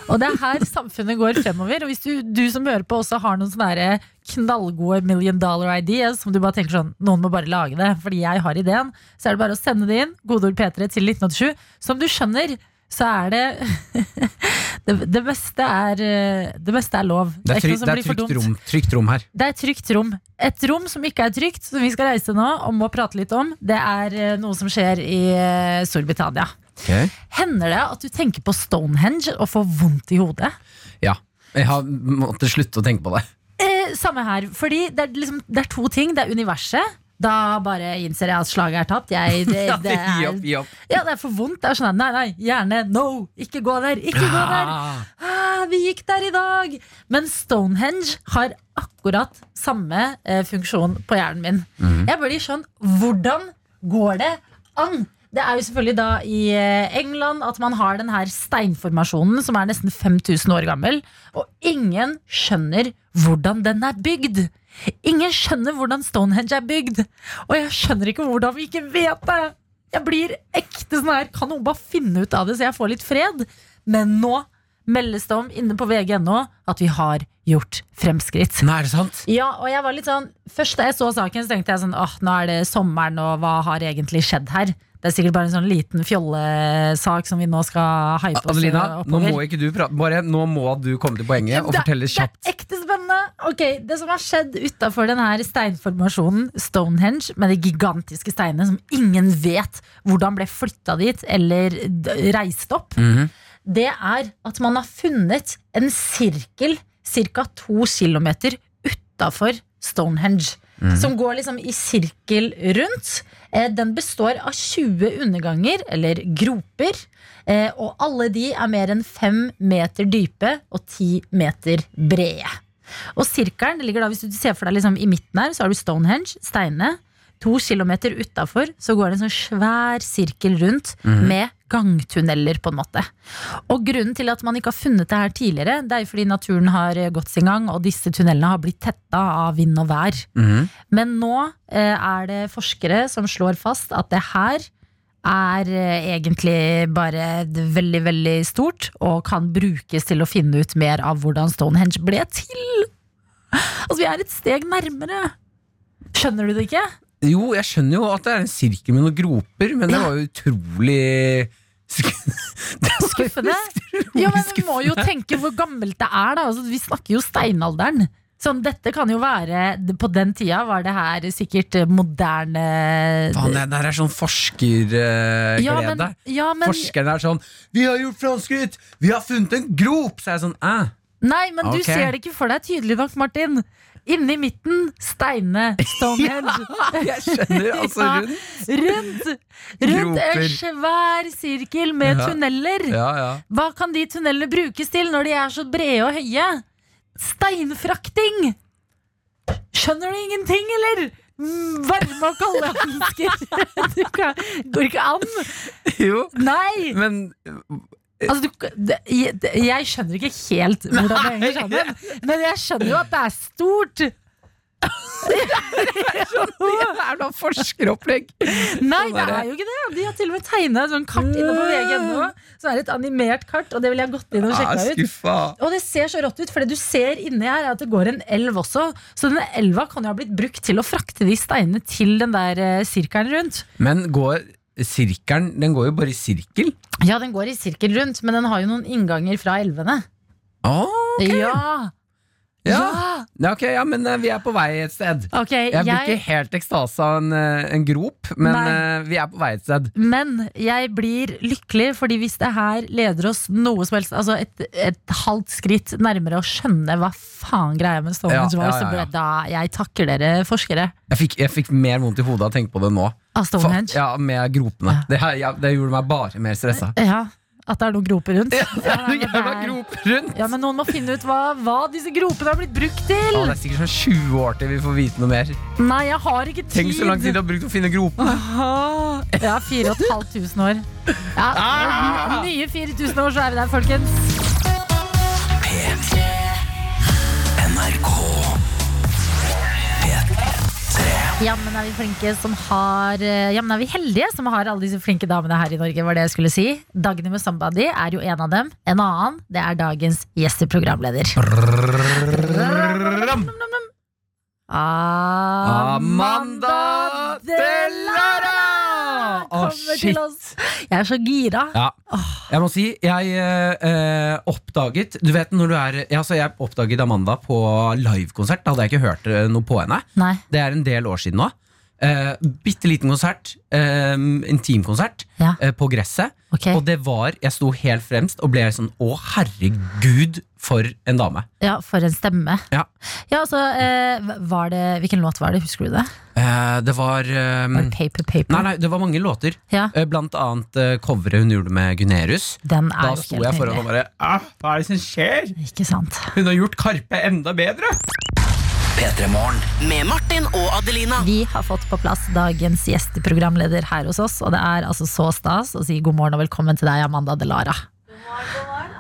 [SPEAKER 3] Og det er her samfunnet går fremover. Og hvis du, du som hører på også har noen sånne der knallgode million dollar ideas som du bare tenker sånn Noen må bare lage det, fordi jeg har ideen. Så er det bare å sende det inn. Godord P3 til 1987. Som du skjønner, så er det det, det, beste er, eh, det beste er lov.
[SPEAKER 4] Det er,
[SPEAKER 3] ikke noe
[SPEAKER 4] trygt,
[SPEAKER 3] som
[SPEAKER 4] det er
[SPEAKER 3] blir for
[SPEAKER 4] trygt,
[SPEAKER 3] dumt.
[SPEAKER 4] rom, trygt rom her.
[SPEAKER 3] Det er et trygt rom. Et rom som ikke er trygt, som vi skal reise nå og må prate litt om, det er eh, noe som skjer i eh, Storbritannia. Hender det at du tenker på Stonehenge og får vondt i hodet?
[SPEAKER 4] Ja. Jeg har måttet slutte å tenke på det.
[SPEAKER 3] Eh, samme her, fordi det er, liksom, det er to ting. Det er universet. Da bare innser jeg at slaget er tapt. Jeg, det, det,
[SPEAKER 4] Gi
[SPEAKER 3] er,
[SPEAKER 4] opp, gi opp.
[SPEAKER 3] ja, det er for vondt. Det er sånn, nei, nei, hjerne, no! Ikke gå der! Ikke gå der!
[SPEAKER 4] Ah,
[SPEAKER 3] Ah, vi gikk der i dag! Men Stonehenge har akkurat samme eh, funksjon på hjernen min. Jeg blir sånn Hvordan går det an? Det er jo selvfølgelig da i eh, England at man har den her steinformasjonen som er nesten 5000 år gammel, og ingen skjønner hvordan den er bygd. Ingen skjønner hvordan Stonehenge er bygd, og jeg skjønner ikke hvordan vi ikke vet det. Jeg blir ekte sånn her, kan noen bare finne ut av det så jeg får litt fred? Men nå meldes det om inne på vg.no at vi har gjort fremskritt.
[SPEAKER 4] Nei, er det sant?
[SPEAKER 3] Ja, og jeg var litt sånn Først da jeg så saken, så tenkte jeg sånn Åh, nå er det sommeren, og hva har egentlig skjedd her? Det er sikkert bare en sånn liten fjollesak som vi nå skal hype oss
[SPEAKER 4] Adelina, nå
[SPEAKER 3] oppover.
[SPEAKER 4] må ikke du prate. Bare nå må du komme til poenget og
[SPEAKER 3] Det-
[SPEAKER 4] fortelle kjapt.
[SPEAKER 3] Det er ekte spennende. Ok, Det som har skjedd utafor denne steinformasjonen, Stonehenge, med de gigantiske steinene som ingen vet hvordan ble flytta dit eller d- reist opp, det er at man har funnet en sirkel ca. to kilometer utafor Stonehenge. Som går liksom i sirkel rundt. Eh, Den består av 20 underganger, eller groper. eh, Og alle de er mer enn 5 meter dype og 10 meter brede. Og sirkelen det ligger da, hvis du ser for deg liksom, i midten her, så har du Stonehenge, steinene. To kilometer utafor så går det en sånn svær sirkel rundt med gangtunneler, på en måte. Og grunnen til at man ikke har funnet det her tidligere, det er jo fordi naturen har eh, gått sin gang, og disse tunnelene har blitt tetta av vind og vær. Men nå eh, er det forskere som slår fast at det her er eh, egentlig bare d- veldig, veldig stort, og kan brukes til å finne ut mer av hvordan Stonehenge ble til. Altså, vi er et steg nærmere. Skjønner du det ikke?
[SPEAKER 4] Jo, jeg skjønner jo at det er en sirkel med noen groper, men det var jo utrolig sk- Det var
[SPEAKER 3] Skuffende.
[SPEAKER 4] utrolig
[SPEAKER 3] Ja, men vi må
[SPEAKER 4] skuffende.
[SPEAKER 3] jo tenke hvor gammelt det er, da. Altså, vi snakker jo steinalderen. Sånn, dette kan jo være På den tida var det her sikkert eh, moderne
[SPEAKER 4] Faen, det der er sånn forskerglede.
[SPEAKER 3] ja, men, ja, men,
[SPEAKER 4] Forskerne er sånn 'Vi har gjort framskritt! Vi har funnet en grop!' Så er jeg sånn Æ.
[SPEAKER 3] Nei, men
[SPEAKER 4] Ok.
[SPEAKER 3] du ser det ikke for deg tydelig nok, Martin. Inni midten, steinene. Stonehenge.
[SPEAKER 4] Jeg skjønner, altså.
[SPEAKER 3] Ja,
[SPEAKER 4] Rundt.
[SPEAKER 3] rundt, rundt
[SPEAKER 4] Groper.
[SPEAKER 3] en svær sirkel med
[SPEAKER 4] Ja.
[SPEAKER 3] tunneler.
[SPEAKER 4] Ja, ja.
[SPEAKER 3] Hva kan de tunnelene brukes til når de er så brede og høye? Steinfrakting! Skjønner du ingenting, eller? Mm, Varme og kalde hansker. Du kan- Går ikke an.
[SPEAKER 4] Jo,
[SPEAKER 3] Nei!
[SPEAKER 4] men
[SPEAKER 3] Altså, du, det- jeg, det- jeg skjønner ikke helt hvordan det henger sammen, men jeg skjønner jo at det er stort.
[SPEAKER 4] Det er noe forskeropplegg!
[SPEAKER 3] Nei,
[SPEAKER 4] Sånn
[SPEAKER 3] det
[SPEAKER 4] er det.
[SPEAKER 3] er jo ikke det. De har til og med tegna et sånt kart inne på VG.no. Som er det et animert kart, og det ville jeg gått inn og
[SPEAKER 4] Ah,
[SPEAKER 3] sjekka ut.
[SPEAKER 4] skuffa.
[SPEAKER 3] Og det ser så rått ut, for det du ser inni her, er at det går en elv også. Så denne elva kan jo ha blitt brukt til å frakte de steinene til den der eh, sirkelen rundt.
[SPEAKER 4] Men går sirkelen Den går jo bare i sirkel?
[SPEAKER 3] Ja, den går i sirkel rundt, men den har jo noen innganger fra elvene.
[SPEAKER 4] Ah,
[SPEAKER 3] Ja!
[SPEAKER 4] ja.
[SPEAKER 3] ja!
[SPEAKER 4] Ja, ok, ja, men eh, vi er på vei et sted.
[SPEAKER 3] Ok,
[SPEAKER 4] Jeg blir
[SPEAKER 3] jeg
[SPEAKER 4] ikke helt ekstase av en, eh, en grop, men
[SPEAKER 3] Nei.
[SPEAKER 4] eh, vi er på vei et sted.
[SPEAKER 3] Men jeg blir lykkelig, fordi hvis det her leder oss noe som helst Altså et, et halvt skritt nærmere å skjønne hva faen greia med Stonehenge
[SPEAKER 4] Ja,
[SPEAKER 3] var,
[SPEAKER 4] ja, ja,
[SPEAKER 3] så
[SPEAKER 4] ja.
[SPEAKER 3] ble da Jeg takker dere, forskere
[SPEAKER 4] Jeg fikk, jeg fikk mer vondt i hodet av å tenke på det nå.
[SPEAKER 3] av
[SPEAKER 4] Fa-
[SPEAKER 3] Stonehenge.
[SPEAKER 4] ja, Med gropene. Det, her, ja, det gjorde meg bare mer stressa.
[SPEAKER 3] Ja. At det er noen groper rundt.
[SPEAKER 4] Ja, det er noen
[SPEAKER 3] men
[SPEAKER 4] jævla
[SPEAKER 3] det er-
[SPEAKER 4] groper rundt!
[SPEAKER 3] Ja, men noen må finne ut hva, hva disse gropene har blitt brukt til!
[SPEAKER 4] Ja, det er sikkert sånn 20 år til vi får vite noe mer.
[SPEAKER 3] Nei, jeg har ikke tid!
[SPEAKER 4] Tenk så lang tid du har brukt å finne gropen.
[SPEAKER 3] Aha. Ja, 4500 år. Ja,
[SPEAKER 4] Ah!
[SPEAKER 3] nye 4000 år, så er vi der, folkens. Jammen er vi flinke som har eh, Jammen er vi heldige som har alle disse flinke damene her i Norge, var det jeg skulle si. Dagny med Somebody er jo en av dem. En annen, det er dagens gjesteprogramleder.
[SPEAKER 4] Ram. Amanda Delara! Å,
[SPEAKER 3] Kommer til oss. Jeg er så gira.
[SPEAKER 4] Ja. Jeg må si, jeg eh, oppdaget Du vet når du er ja, så Jeg oppdaget Amanda på livekonsert. Da hadde jeg ikke hørt eh, noe på henne.
[SPEAKER 3] Nei.
[SPEAKER 4] Det er en del år siden nå. Uh, Bitte liten konsert. eh, intimkonsert
[SPEAKER 3] Ja,
[SPEAKER 4] eh, på gresset.
[SPEAKER 3] ok.
[SPEAKER 4] Og det var Jeg sto helt fremst og ble sånn Å, herregud, for en dame.
[SPEAKER 3] Ja, for en stemme.
[SPEAKER 4] Ja.
[SPEAKER 3] Ja, altså, eh, var det, Hvilken låt var det? Husker du det?
[SPEAKER 4] Eh, det var eh,
[SPEAKER 3] Var det Paper Paper?
[SPEAKER 4] Nei, nei, det var mange låter.
[SPEAKER 3] Ja,
[SPEAKER 4] Eh, Blant annet eh, coveret hun gjorde med Gunerius.
[SPEAKER 3] den er
[SPEAKER 4] Da
[SPEAKER 3] jo
[SPEAKER 4] sto
[SPEAKER 3] helt
[SPEAKER 4] jeg foran
[SPEAKER 3] nydelig.
[SPEAKER 4] og bare «Ah, Hva er det som skjer?
[SPEAKER 3] Ikke sant.
[SPEAKER 4] Hun har gjort Karpe enda bedre!
[SPEAKER 2] Med Martin og Adelina.
[SPEAKER 3] Vi har fått på plass dagens gjesteprogramleder her hos oss, og det er altså så stas å si god morgen og velkommen til deg, Amanda Delara.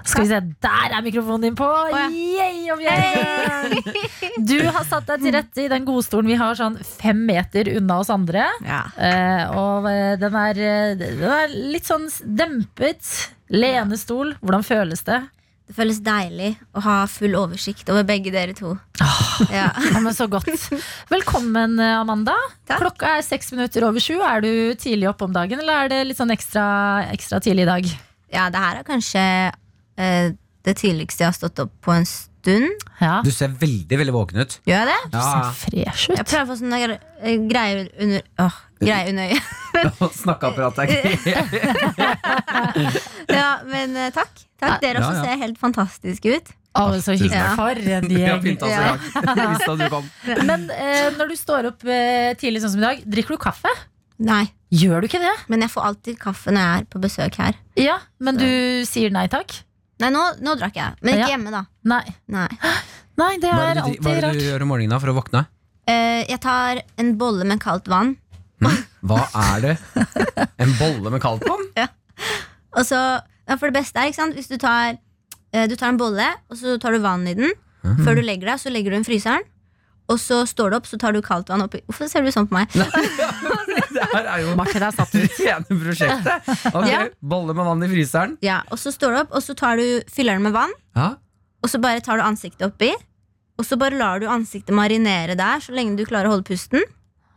[SPEAKER 3] Skal vi se, der er mikrofonen din på!
[SPEAKER 5] ja.
[SPEAKER 3] Yay, om hjertet! Du har satt deg til rette i den godstolen vi har sånn fem meter unna oss andre.
[SPEAKER 5] Ja.
[SPEAKER 3] Eh, og eh, den er, eh, den er litt sånn s- dempet. Lenestol, hvordan føles det?
[SPEAKER 5] Det føles deilig å ha full oversikt over begge dere to. Ja.
[SPEAKER 3] Ja, men så godt. Velkommen, eh, Amanda.
[SPEAKER 5] Takk.
[SPEAKER 3] Klokka er seks minutter over sju. Er du tidlig oppe om dagen, eller er det litt sånn ekstra, ekstra tidlig i dag?
[SPEAKER 5] ja, det her er kanskje eh, det tidligste jeg har stått opp på en stund.
[SPEAKER 3] Ja.
[SPEAKER 4] Du Ah. ser veldig veldig våken ut.
[SPEAKER 5] Gjør jeg det?
[SPEAKER 3] Ser fresh
[SPEAKER 5] Jeg
[SPEAKER 3] ut.
[SPEAKER 5] prøver å få sånne gre- eh, greier under, åh, greier under øyet.
[SPEAKER 4] Snakkeapparatet er ikke
[SPEAKER 5] Ja, men eh, takk. takk. Dere
[SPEAKER 4] Ja,
[SPEAKER 5] også
[SPEAKER 4] ja.
[SPEAKER 5] ser helt fantastiske ut.
[SPEAKER 3] Å, så hyggelig.
[SPEAKER 5] Ja.
[SPEAKER 3] For en
[SPEAKER 4] Vi har
[SPEAKER 3] gjeng.
[SPEAKER 4] pynta oss i dag. Hvis da du kom.
[SPEAKER 3] Men eh, når du står opp eh, tidlig sånn som i dag, drikker du kaffe?
[SPEAKER 5] Nei,
[SPEAKER 3] Gjør du ikke det?
[SPEAKER 5] men jeg får alltid kaffe når jeg er på besøk her.
[SPEAKER 3] Ja, men du sier nei takk?
[SPEAKER 5] Nei, nå, nå drakk jeg, men
[SPEAKER 3] Ja.
[SPEAKER 5] ikke hjemme, da.
[SPEAKER 3] Nei.
[SPEAKER 5] Nei.
[SPEAKER 3] Nei, det
[SPEAKER 4] Hva er
[SPEAKER 3] er
[SPEAKER 4] det du,
[SPEAKER 3] alltid
[SPEAKER 4] hva er det du
[SPEAKER 3] rart.
[SPEAKER 4] gjør om morgenen da for å våkne?
[SPEAKER 5] Eh, jeg tar en bolle med kaldt vann,
[SPEAKER 4] Hva er det? En bolle med kaldt vann?
[SPEAKER 5] og så ja, For det beste er, ikke sant, hvis du tar eh, Du tar en bolle, og så tar du vann i den. Før du legger deg, så legger du den i fryseren. Og så står du opp, så tar du kaldt vann oppi. Hvorfor ser du sånn på meg?
[SPEAKER 4] Det her er jo
[SPEAKER 3] Martin er satt ut.
[SPEAKER 4] det rene prosjektet. Ok,
[SPEAKER 5] Ja.
[SPEAKER 4] Bolle med vann i fryseren.
[SPEAKER 5] Ja, Og så står du opp, og så tar du, fyller den med vann,
[SPEAKER 4] Ja.
[SPEAKER 5] og så bare tar du ansiktet oppi. Og så bare lar du ansiktet marinere der så lenge du klarer å holde pusten.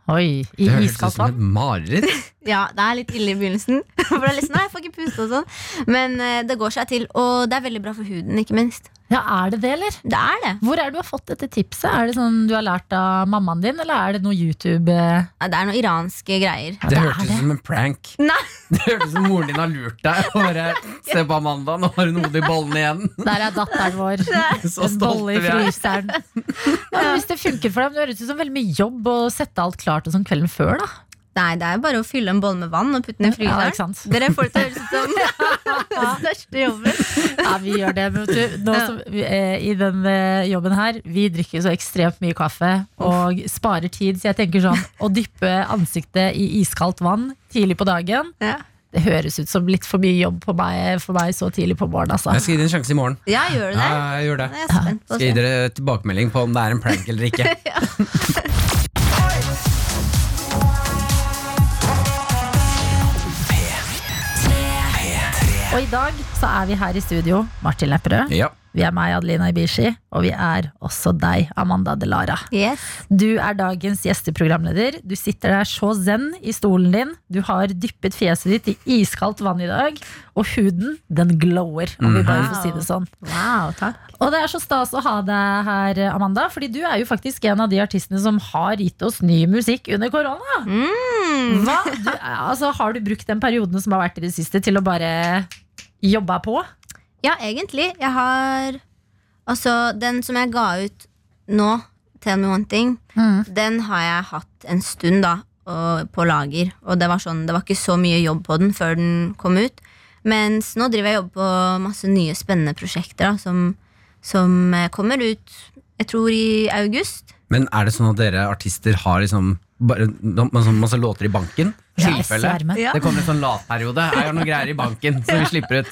[SPEAKER 3] Oi, i
[SPEAKER 4] Det høres ut
[SPEAKER 3] iskaldt
[SPEAKER 4] som
[SPEAKER 3] vann?
[SPEAKER 4] et mareritt.
[SPEAKER 5] Ja, det er litt ille i begynnelsen. For det er litt sånn, nei, jeg får ikke puste og sånn. Men eh, det går seg til, og det er veldig bra for huden, ikke minst.
[SPEAKER 3] Ja, er det det, eller?
[SPEAKER 5] Det er det.
[SPEAKER 3] Hvor er det du har fått dette tipset? Er det sånn du har lært av mammaen din, eller er det noe YouTube eh?
[SPEAKER 5] Ja, det er noen iranske greier.
[SPEAKER 3] Ja,
[SPEAKER 4] Det
[SPEAKER 3] er
[SPEAKER 4] hørtes ut som en prank.
[SPEAKER 5] Nei.
[SPEAKER 4] Det hørtes ut som moren din har lurt deg. Og bare, Se på Amanda, nå har hun hodet i bollen igjen.
[SPEAKER 3] Der er datteren vår.
[SPEAKER 4] Så
[SPEAKER 3] En bolle i
[SPEAKER 4] stolte vi er.
[SPEAKER 3] fryseren. Ja, men hvis det funker for deg, men det høres ut som veldig mye jobb å sette alt klart og sånn kvelden før, da.
[SPEAKER 5] Nei, det er bare å fylle en bolle med vann og putte den i
[SPEAKER 3] Ja,
[SPEAKER 5] fryseren.
[SPEAKER 3] ikke sant?
[SPEAKER 5] Dere får det til å høres ut som den største jobben.
[SPEAKER 3] Ja, vi gjør det. Men vet du, nå som, eh, I den eh, jobben her, vi drikker jo så ekstremt mye kaffe og sparer tid, så jeg tenker sånn, å dyppe ansiktet i iskaldt vann tidlig på dagen,
[SPEAKER 5] Ja.
[SPEAKER 3] det høres ut som litt for mye jobb på meg, for meg så tidlig på morgenen, altså.
[SPEAKER 4] Jeg skal gi dere en sjanse i morgen.
[SPEAKER 5] ja, gjør du
[SPEAKER 4] Ja,
[SPEAKER 5] det?
[SPEAKER 4] jeg gjør det.
[SPEAKER 5] Nå er jeg spent på å
[SPEAKER 4] Skal gi
[SPEAKER 5] se.
[SPEAKER 4] dere tilbakemelding på om det er en prank eller ikke.
[SPEAKER 3] Og i dag så er vi her i studio, Martin Lepperød.
[SPEAKER 4] Ja.
[SPEAKER 3] Vi er meg, Adelina Ibishi, og vi er også deg, Amanda Delara.
[SPEAKER 5] Yes.
[SPEAKER 3] Du er dagens gjesteprogramleder. Du sitter der så zen i stolen din. Du har dyppet fjeset ditt i iskaldt vann i dag, og huden, den glower, om vi bare får si det sånn.
[SPEAKER 5] Mhm. Wow, takk.
[SPEAKER 3] Og det er så stas å ha deg her, Amanda, fordi du er jo faktisk en av de artistene som har gitt oss ny musikk under korona.
[SPEAKER 5] Mm.
[SPEAKER 3] Hva? Du, altså, har du brukt den perioden som har vært i det siste, til å bare jobbe på?
[SPEAKER 5] Ja, egentlig. Jeg har Altså, den som jeg ga ut nå, Tell Me One Thing,
[SPEAKER 3] Mm.
[SPEAKER 5] den har jeg hatt en stund, da, og, på lager. Og det var sånn, det var ikke så mye jobb på den før den kom ut. Mens nå driver jeg og jobber på masse nye spennende prosjekter da, som, som eh, kommer ut jeg tror i august.
[SPEAKER 4] Men er det sånn at dere artister har liksom bare, masse, masse låter i banken?
[SPEAKER 3] Ja,
[SPEAKER 4] Tilfelle.
[SPEAKER 3] sverme.
[SPEAKER 5] Ja.
[SPEAKER 4] Det kommer en sånn latperiode. Jeg har noen greier i banken som vi slipper ut.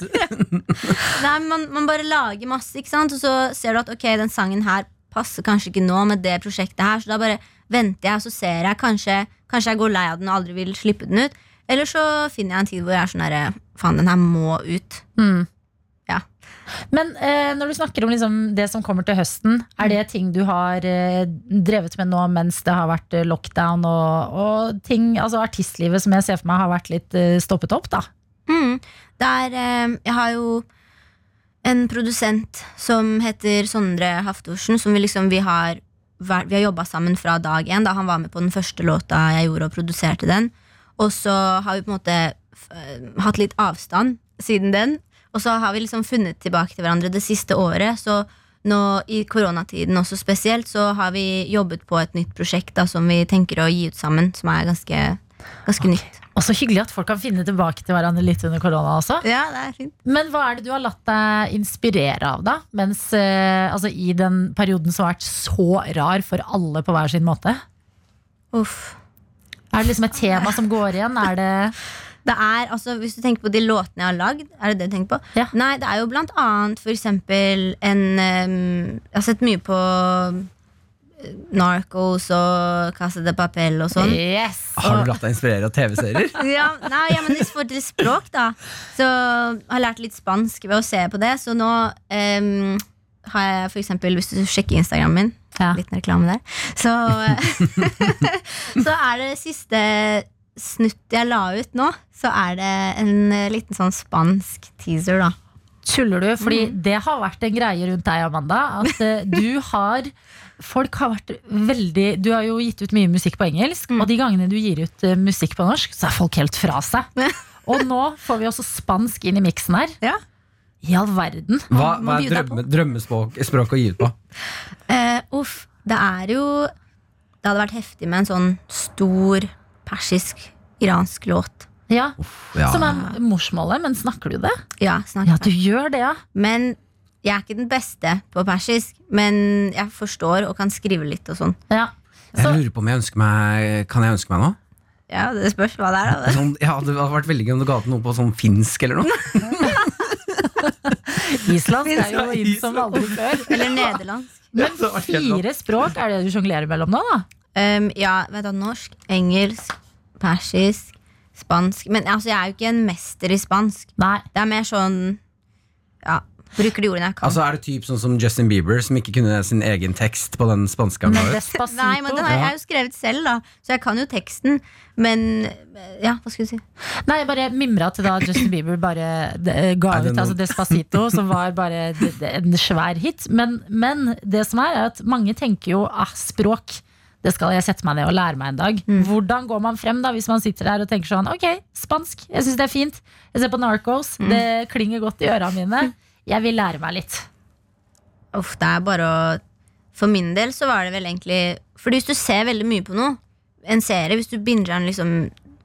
[SPEAKER 5] Nei, men man, man bare lager masse, ikke sant? og så ser du at ok, den sangen her passer kanskje ikke nå med det prosjektet her, så da bare venter jeg, og så ser jeg. Kanskje, kanskje jeg går lei av den og aldri vil slippe den ut. Eller så finner jeg en tid hvor jeg er sånn herre Faen, den her må ut.
[SPEAKER 3] Mm.
[SPEAKER 5] Ja.
[SPEAKER 3] Men eh, når du snakker om liksom, det som kommer til høsten, er det ting du har eh, drevet med nå mens det har vært eh, lockdown og, og ting, altså artistlivet som jeg ser for meg har vært litt eh, stoppet opp, da?
[SPEAKER 5] Mm. Der, eh, jeg har jo en produsent som heter Sondre Haftorsen, som vi liksom vi har, vært- vi har jobba sammen fra dag én. Da han var med på den første låta jeg gjorde, og produserte den. Og så har vi på en måte f- eh, hatt litt avstand siden den. Og så har vi liksom funnet tilbake til hverandre det siste året. Så nå i koronatiden også spesielt, så har vi jobbet på et nytt prosjekt da, som vi tenker å gi ut sammen, som er ganske, ganske nytt.
[SPEAKER 3] Og så hyggelig at folk kan finne tilbake til hverandre litt under korona også.
[SPEAKER 5] Ja, det er fint.
[SPEAKER 3] Men hva er det du har latt deg inspirere av, da? Mens, eh, altså, I den perioden som har vært så rar for alle på hver sin måte.
[SPEAKER 5] Uff.
[SPEAKER 3] Er det liksom et tema som går igjen? Er det
[SPEAKER 5] Det er, altså Hvis du tenker på de låtene jeg har lagd, er det det du tenker på?
[SPEAKER 3] Ja.
[SPEAKER 5] Nei, det er jo blant annet for eksempel en ehm, Jeg har sett mye på eh, Narcos og Casa de Papel og sånn.
[SPEAKER 3] Yes!
[SPEAKER 4] Har du latt deg inspirere av TV-serier?
[SPEAKER 5] Ja, nei, ja, men i forhold til språk, da. Så har jeg lært litt spansk ved å se på det. Så nå ehm, har jeg for eksempel, hvis du sjekker Instagramen min
[SPEAKER 3] Ja.
[SPEAKER 5] Liten reklame der. Så, så er det siste snutt jeg la ut nå, så er det en eh, liten sånn spansk teaser, da.
[SPEAKER 3] Tuller du? Fordi det har vært en greie rundt deg, Amanda. At eh, du har Folk har vært veldig Du har jo gitt ut mye musikk på engelsk, og de gangene du gir ut eh, musikk på norsk, så er folk helt fra seg. Og nå får vi også spansk inn i miksen her.
[SPEAKER 5] Ja.
[SPEAKER 3] I all verden.
[SPEAKER 4] Hva,
[SPEAKER 5] Må- må
[SPEAKER 4] hva
[SPEAKER 5] by
[SPEAKER 4] er
[SPEAKER 5] deg
[SPEAKER 4] drømme, drømmespråk språk å gi ut på?
[SPEAKER 5] Eh, uff, det er jo Det hadde vært heftig med en sånn stor persisk-iransk låt.
[SPEAKER 3] Ja.
[SPEAKER 4] Ja.
[SPEAKER 3] Som er morsmålet, men snakker du det?
[SPEAKER 5] Ja, snakk.
[SPEAKER 3] Ja, du gjør det, ja.
[SPEAKER 5] Men jeg er ikke den beste på persisk, men jeg forstår og kan skrive litt og sånn.
[SPEAKER 3] ja.
[SPEAKER 4] Jeg
[SPEAKER 3] Så,
[SPEAKER 4] lurer på om jeg ønsker meg Kan jeg ønske meg noe?
[SPEAKER 5] Ja, det spørs hva det er, da.
[SPEAKER 4] Sånn, ja, det hadde vært veldig gøy om du ga ut noe på sånn finsk eller noe.
[SPEAKER 3] Island skal jo inn som
[SPEAKER 4] Island.
[SPEAKER 3] aldri før.
[SPEAKER 5] Eller nederlandsk.
[SPEAKER 3] Men
[SPEAKER 4] det var helt rått.
[SPEAKER 3] fire språk er det du sjonglerer mellom nå, da?
[SPEAKER 5] Um, ja, vet du, norsk, engelsk, persisk, spansk. Men altså, jeg er jo ikke en mester i spansk.
[SPEAKER 3] Nei.
[SPEAKER 5] Det er mer sånn Ja, bruker de ordene jeg kan.
[SPEAKER 4] Altså Er det typ sånn som Justin Bieber, som ikke kunne sin egen tekst på den spanske han
[SPEAKER 3] Men
[SPEAKER 4] ga ut?
[SPEAKER 3] despacito.
[SPEAKER 5] Nei, men den har jeg jo skrevet selv, da, så jeg kan jo teksten. Men ja, hva skulle du si?
[SPEAKER 3] Nei, jeg bare mimra til da Justin Bieber bare eh, ga
[SPEAKER 4] Er
[SPEAKER 3] ut
[SPEAKER 4] det
[SPEAKER 3] altså
[SPEAKER 4] noen-
[SPEAKER 3] Despacito, som var bare d- d- en svær hit. Men, men det som er, er at mange tenker jo ah, språk. Det skal jeg sette meg ned og lære meg en dag.
[SPEAKER 5] Mm.
[SPEAKER 3] Hvordan går man frem da hvis man sitter der og tenker sånn Ok, spansk. Jeg syns det er fint. Jeg ser på Narcos.
[SPEAKER 5] Mm.
[SPEAKER 3] Det klinger godt i øra mine. Jeg vil lære meg litt.
[SPEAKER 5] Uff, det er bare å For min del så var det vel egentlig Fordi hvis du ser veldig mye på noe, en serie, hvis du binger den liksom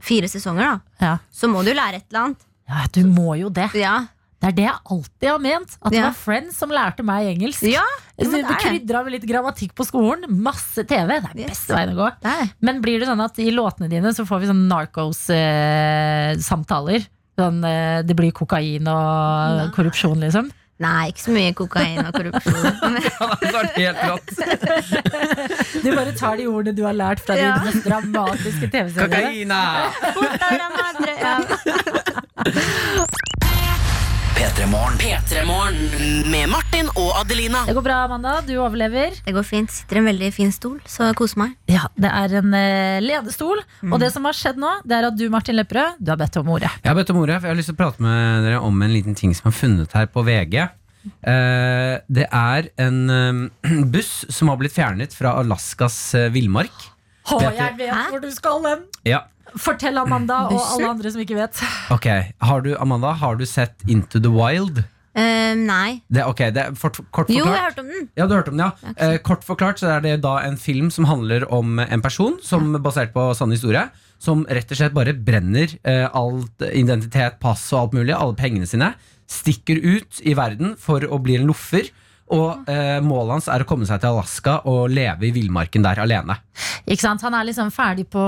[SPEAKER 5] fire sesonger, da,
[SPEAKER 3] Ja.
[SPEAKER 5] så må du jo lære et eller annet.
[SPEAKER 3] ja, du må jo det.
[SPEAKER 5] Ja.
[SPEAKER 3] Det er det jeg alltid har ment. At det
[SPEAKER 5] Ja.
[SPEAKER 3] var Friends som lærte meg engelsk.
[SPEAKER 5] ja.
[SPEAKER 3] Du
[SPEAKER 5] Jo, men det er det.
[SPEAKER 3] krydra med litt grammatikk på skolen. Masse TV. Det er
[SPEAKER 5] Yes.
[SPEAKER 3] beste veien å gå.
[SPEAKER 5] Det er det.
[SPEAKER 3] Men blir det sånn at i låtene dine så får vi sånn narcos-samtaler? sånn, eh, det blir kokain og korrupsjon, liksom?
[SPEAKER 5] Nei, ikke så mye kokain og korrupsjon. Men-
[SPEAKER 4] Ja, det hadde vært helt rått.
[SPEAKER 3] Du bare tar de ordene du har lært fra
[SPEAKER 5] Ja.
[SPEAKER 3] de mest dramatiske TV-seriene.
[SPEAKER 4] Kokaina!
[SPEAKER 2] P3-morgen med Martin og Adelina.
[SPEAKER 3] Det går bra, Amanda. Du overlever.
[SPEAKER 5] Det går fint. Sitter i en veldig fin stol, så kos meg.
[SPEAKER 3] Ja, Det er en eh, ledestol. Og det som har skjedd nå, det er at du, Martin Lepperød, du har bedt om ordet.
[SPEAKER 4] Jeg har bedt om ordet, for jeg har lyst til å prate med dere om en liten ting som jeg har funnet her på VG. Eh, det er en eh, buss som har blitt fjernet fra Alaskas eh, villmark.
[SPEAKER 3] Å,
[SPEAKER 4] Vet du-
[SPEAKER 3] jeg vet
[SPEAKER 5] Hæ?
[SPEAKER 3] hvor du skal hen!
[SPEAKER 4] Ja,
[SPEAKER 3] Fortell Amanda og
[SPEAKER 5] Bussen?
[SPEAKER 3] alle andre som ikke vet.
[SPEAKER 4] ok har du, Amanda, har du sett Into the Wild?
[SPEAKER 5] Eh, nei.
[SPEAKER 4] Det, ok, det er fort, kort
[SPEAKER 5] Jo, jeg
[SPEAKER 4] forklart.
[SPEAKER 5] hørte om den.
[SPEAKER 4] Ja, du hørte om den, ja.
[SPEAKER 5] ikke sant.
[SPEAKER 4] Eh, kort forklart så er det da en film som handler om en person, som basert på sann historie, som rett og slett bare brenner eh, alt identitet, pass og alt mulig, alle pengene sine, stikker ut i verden for å bli en loffer, og eh, målet hans er å komme seg til Alaska og leve i villmarken der alene.
[SPEAKER 3] Ikke sant? Han er liksom ferdig på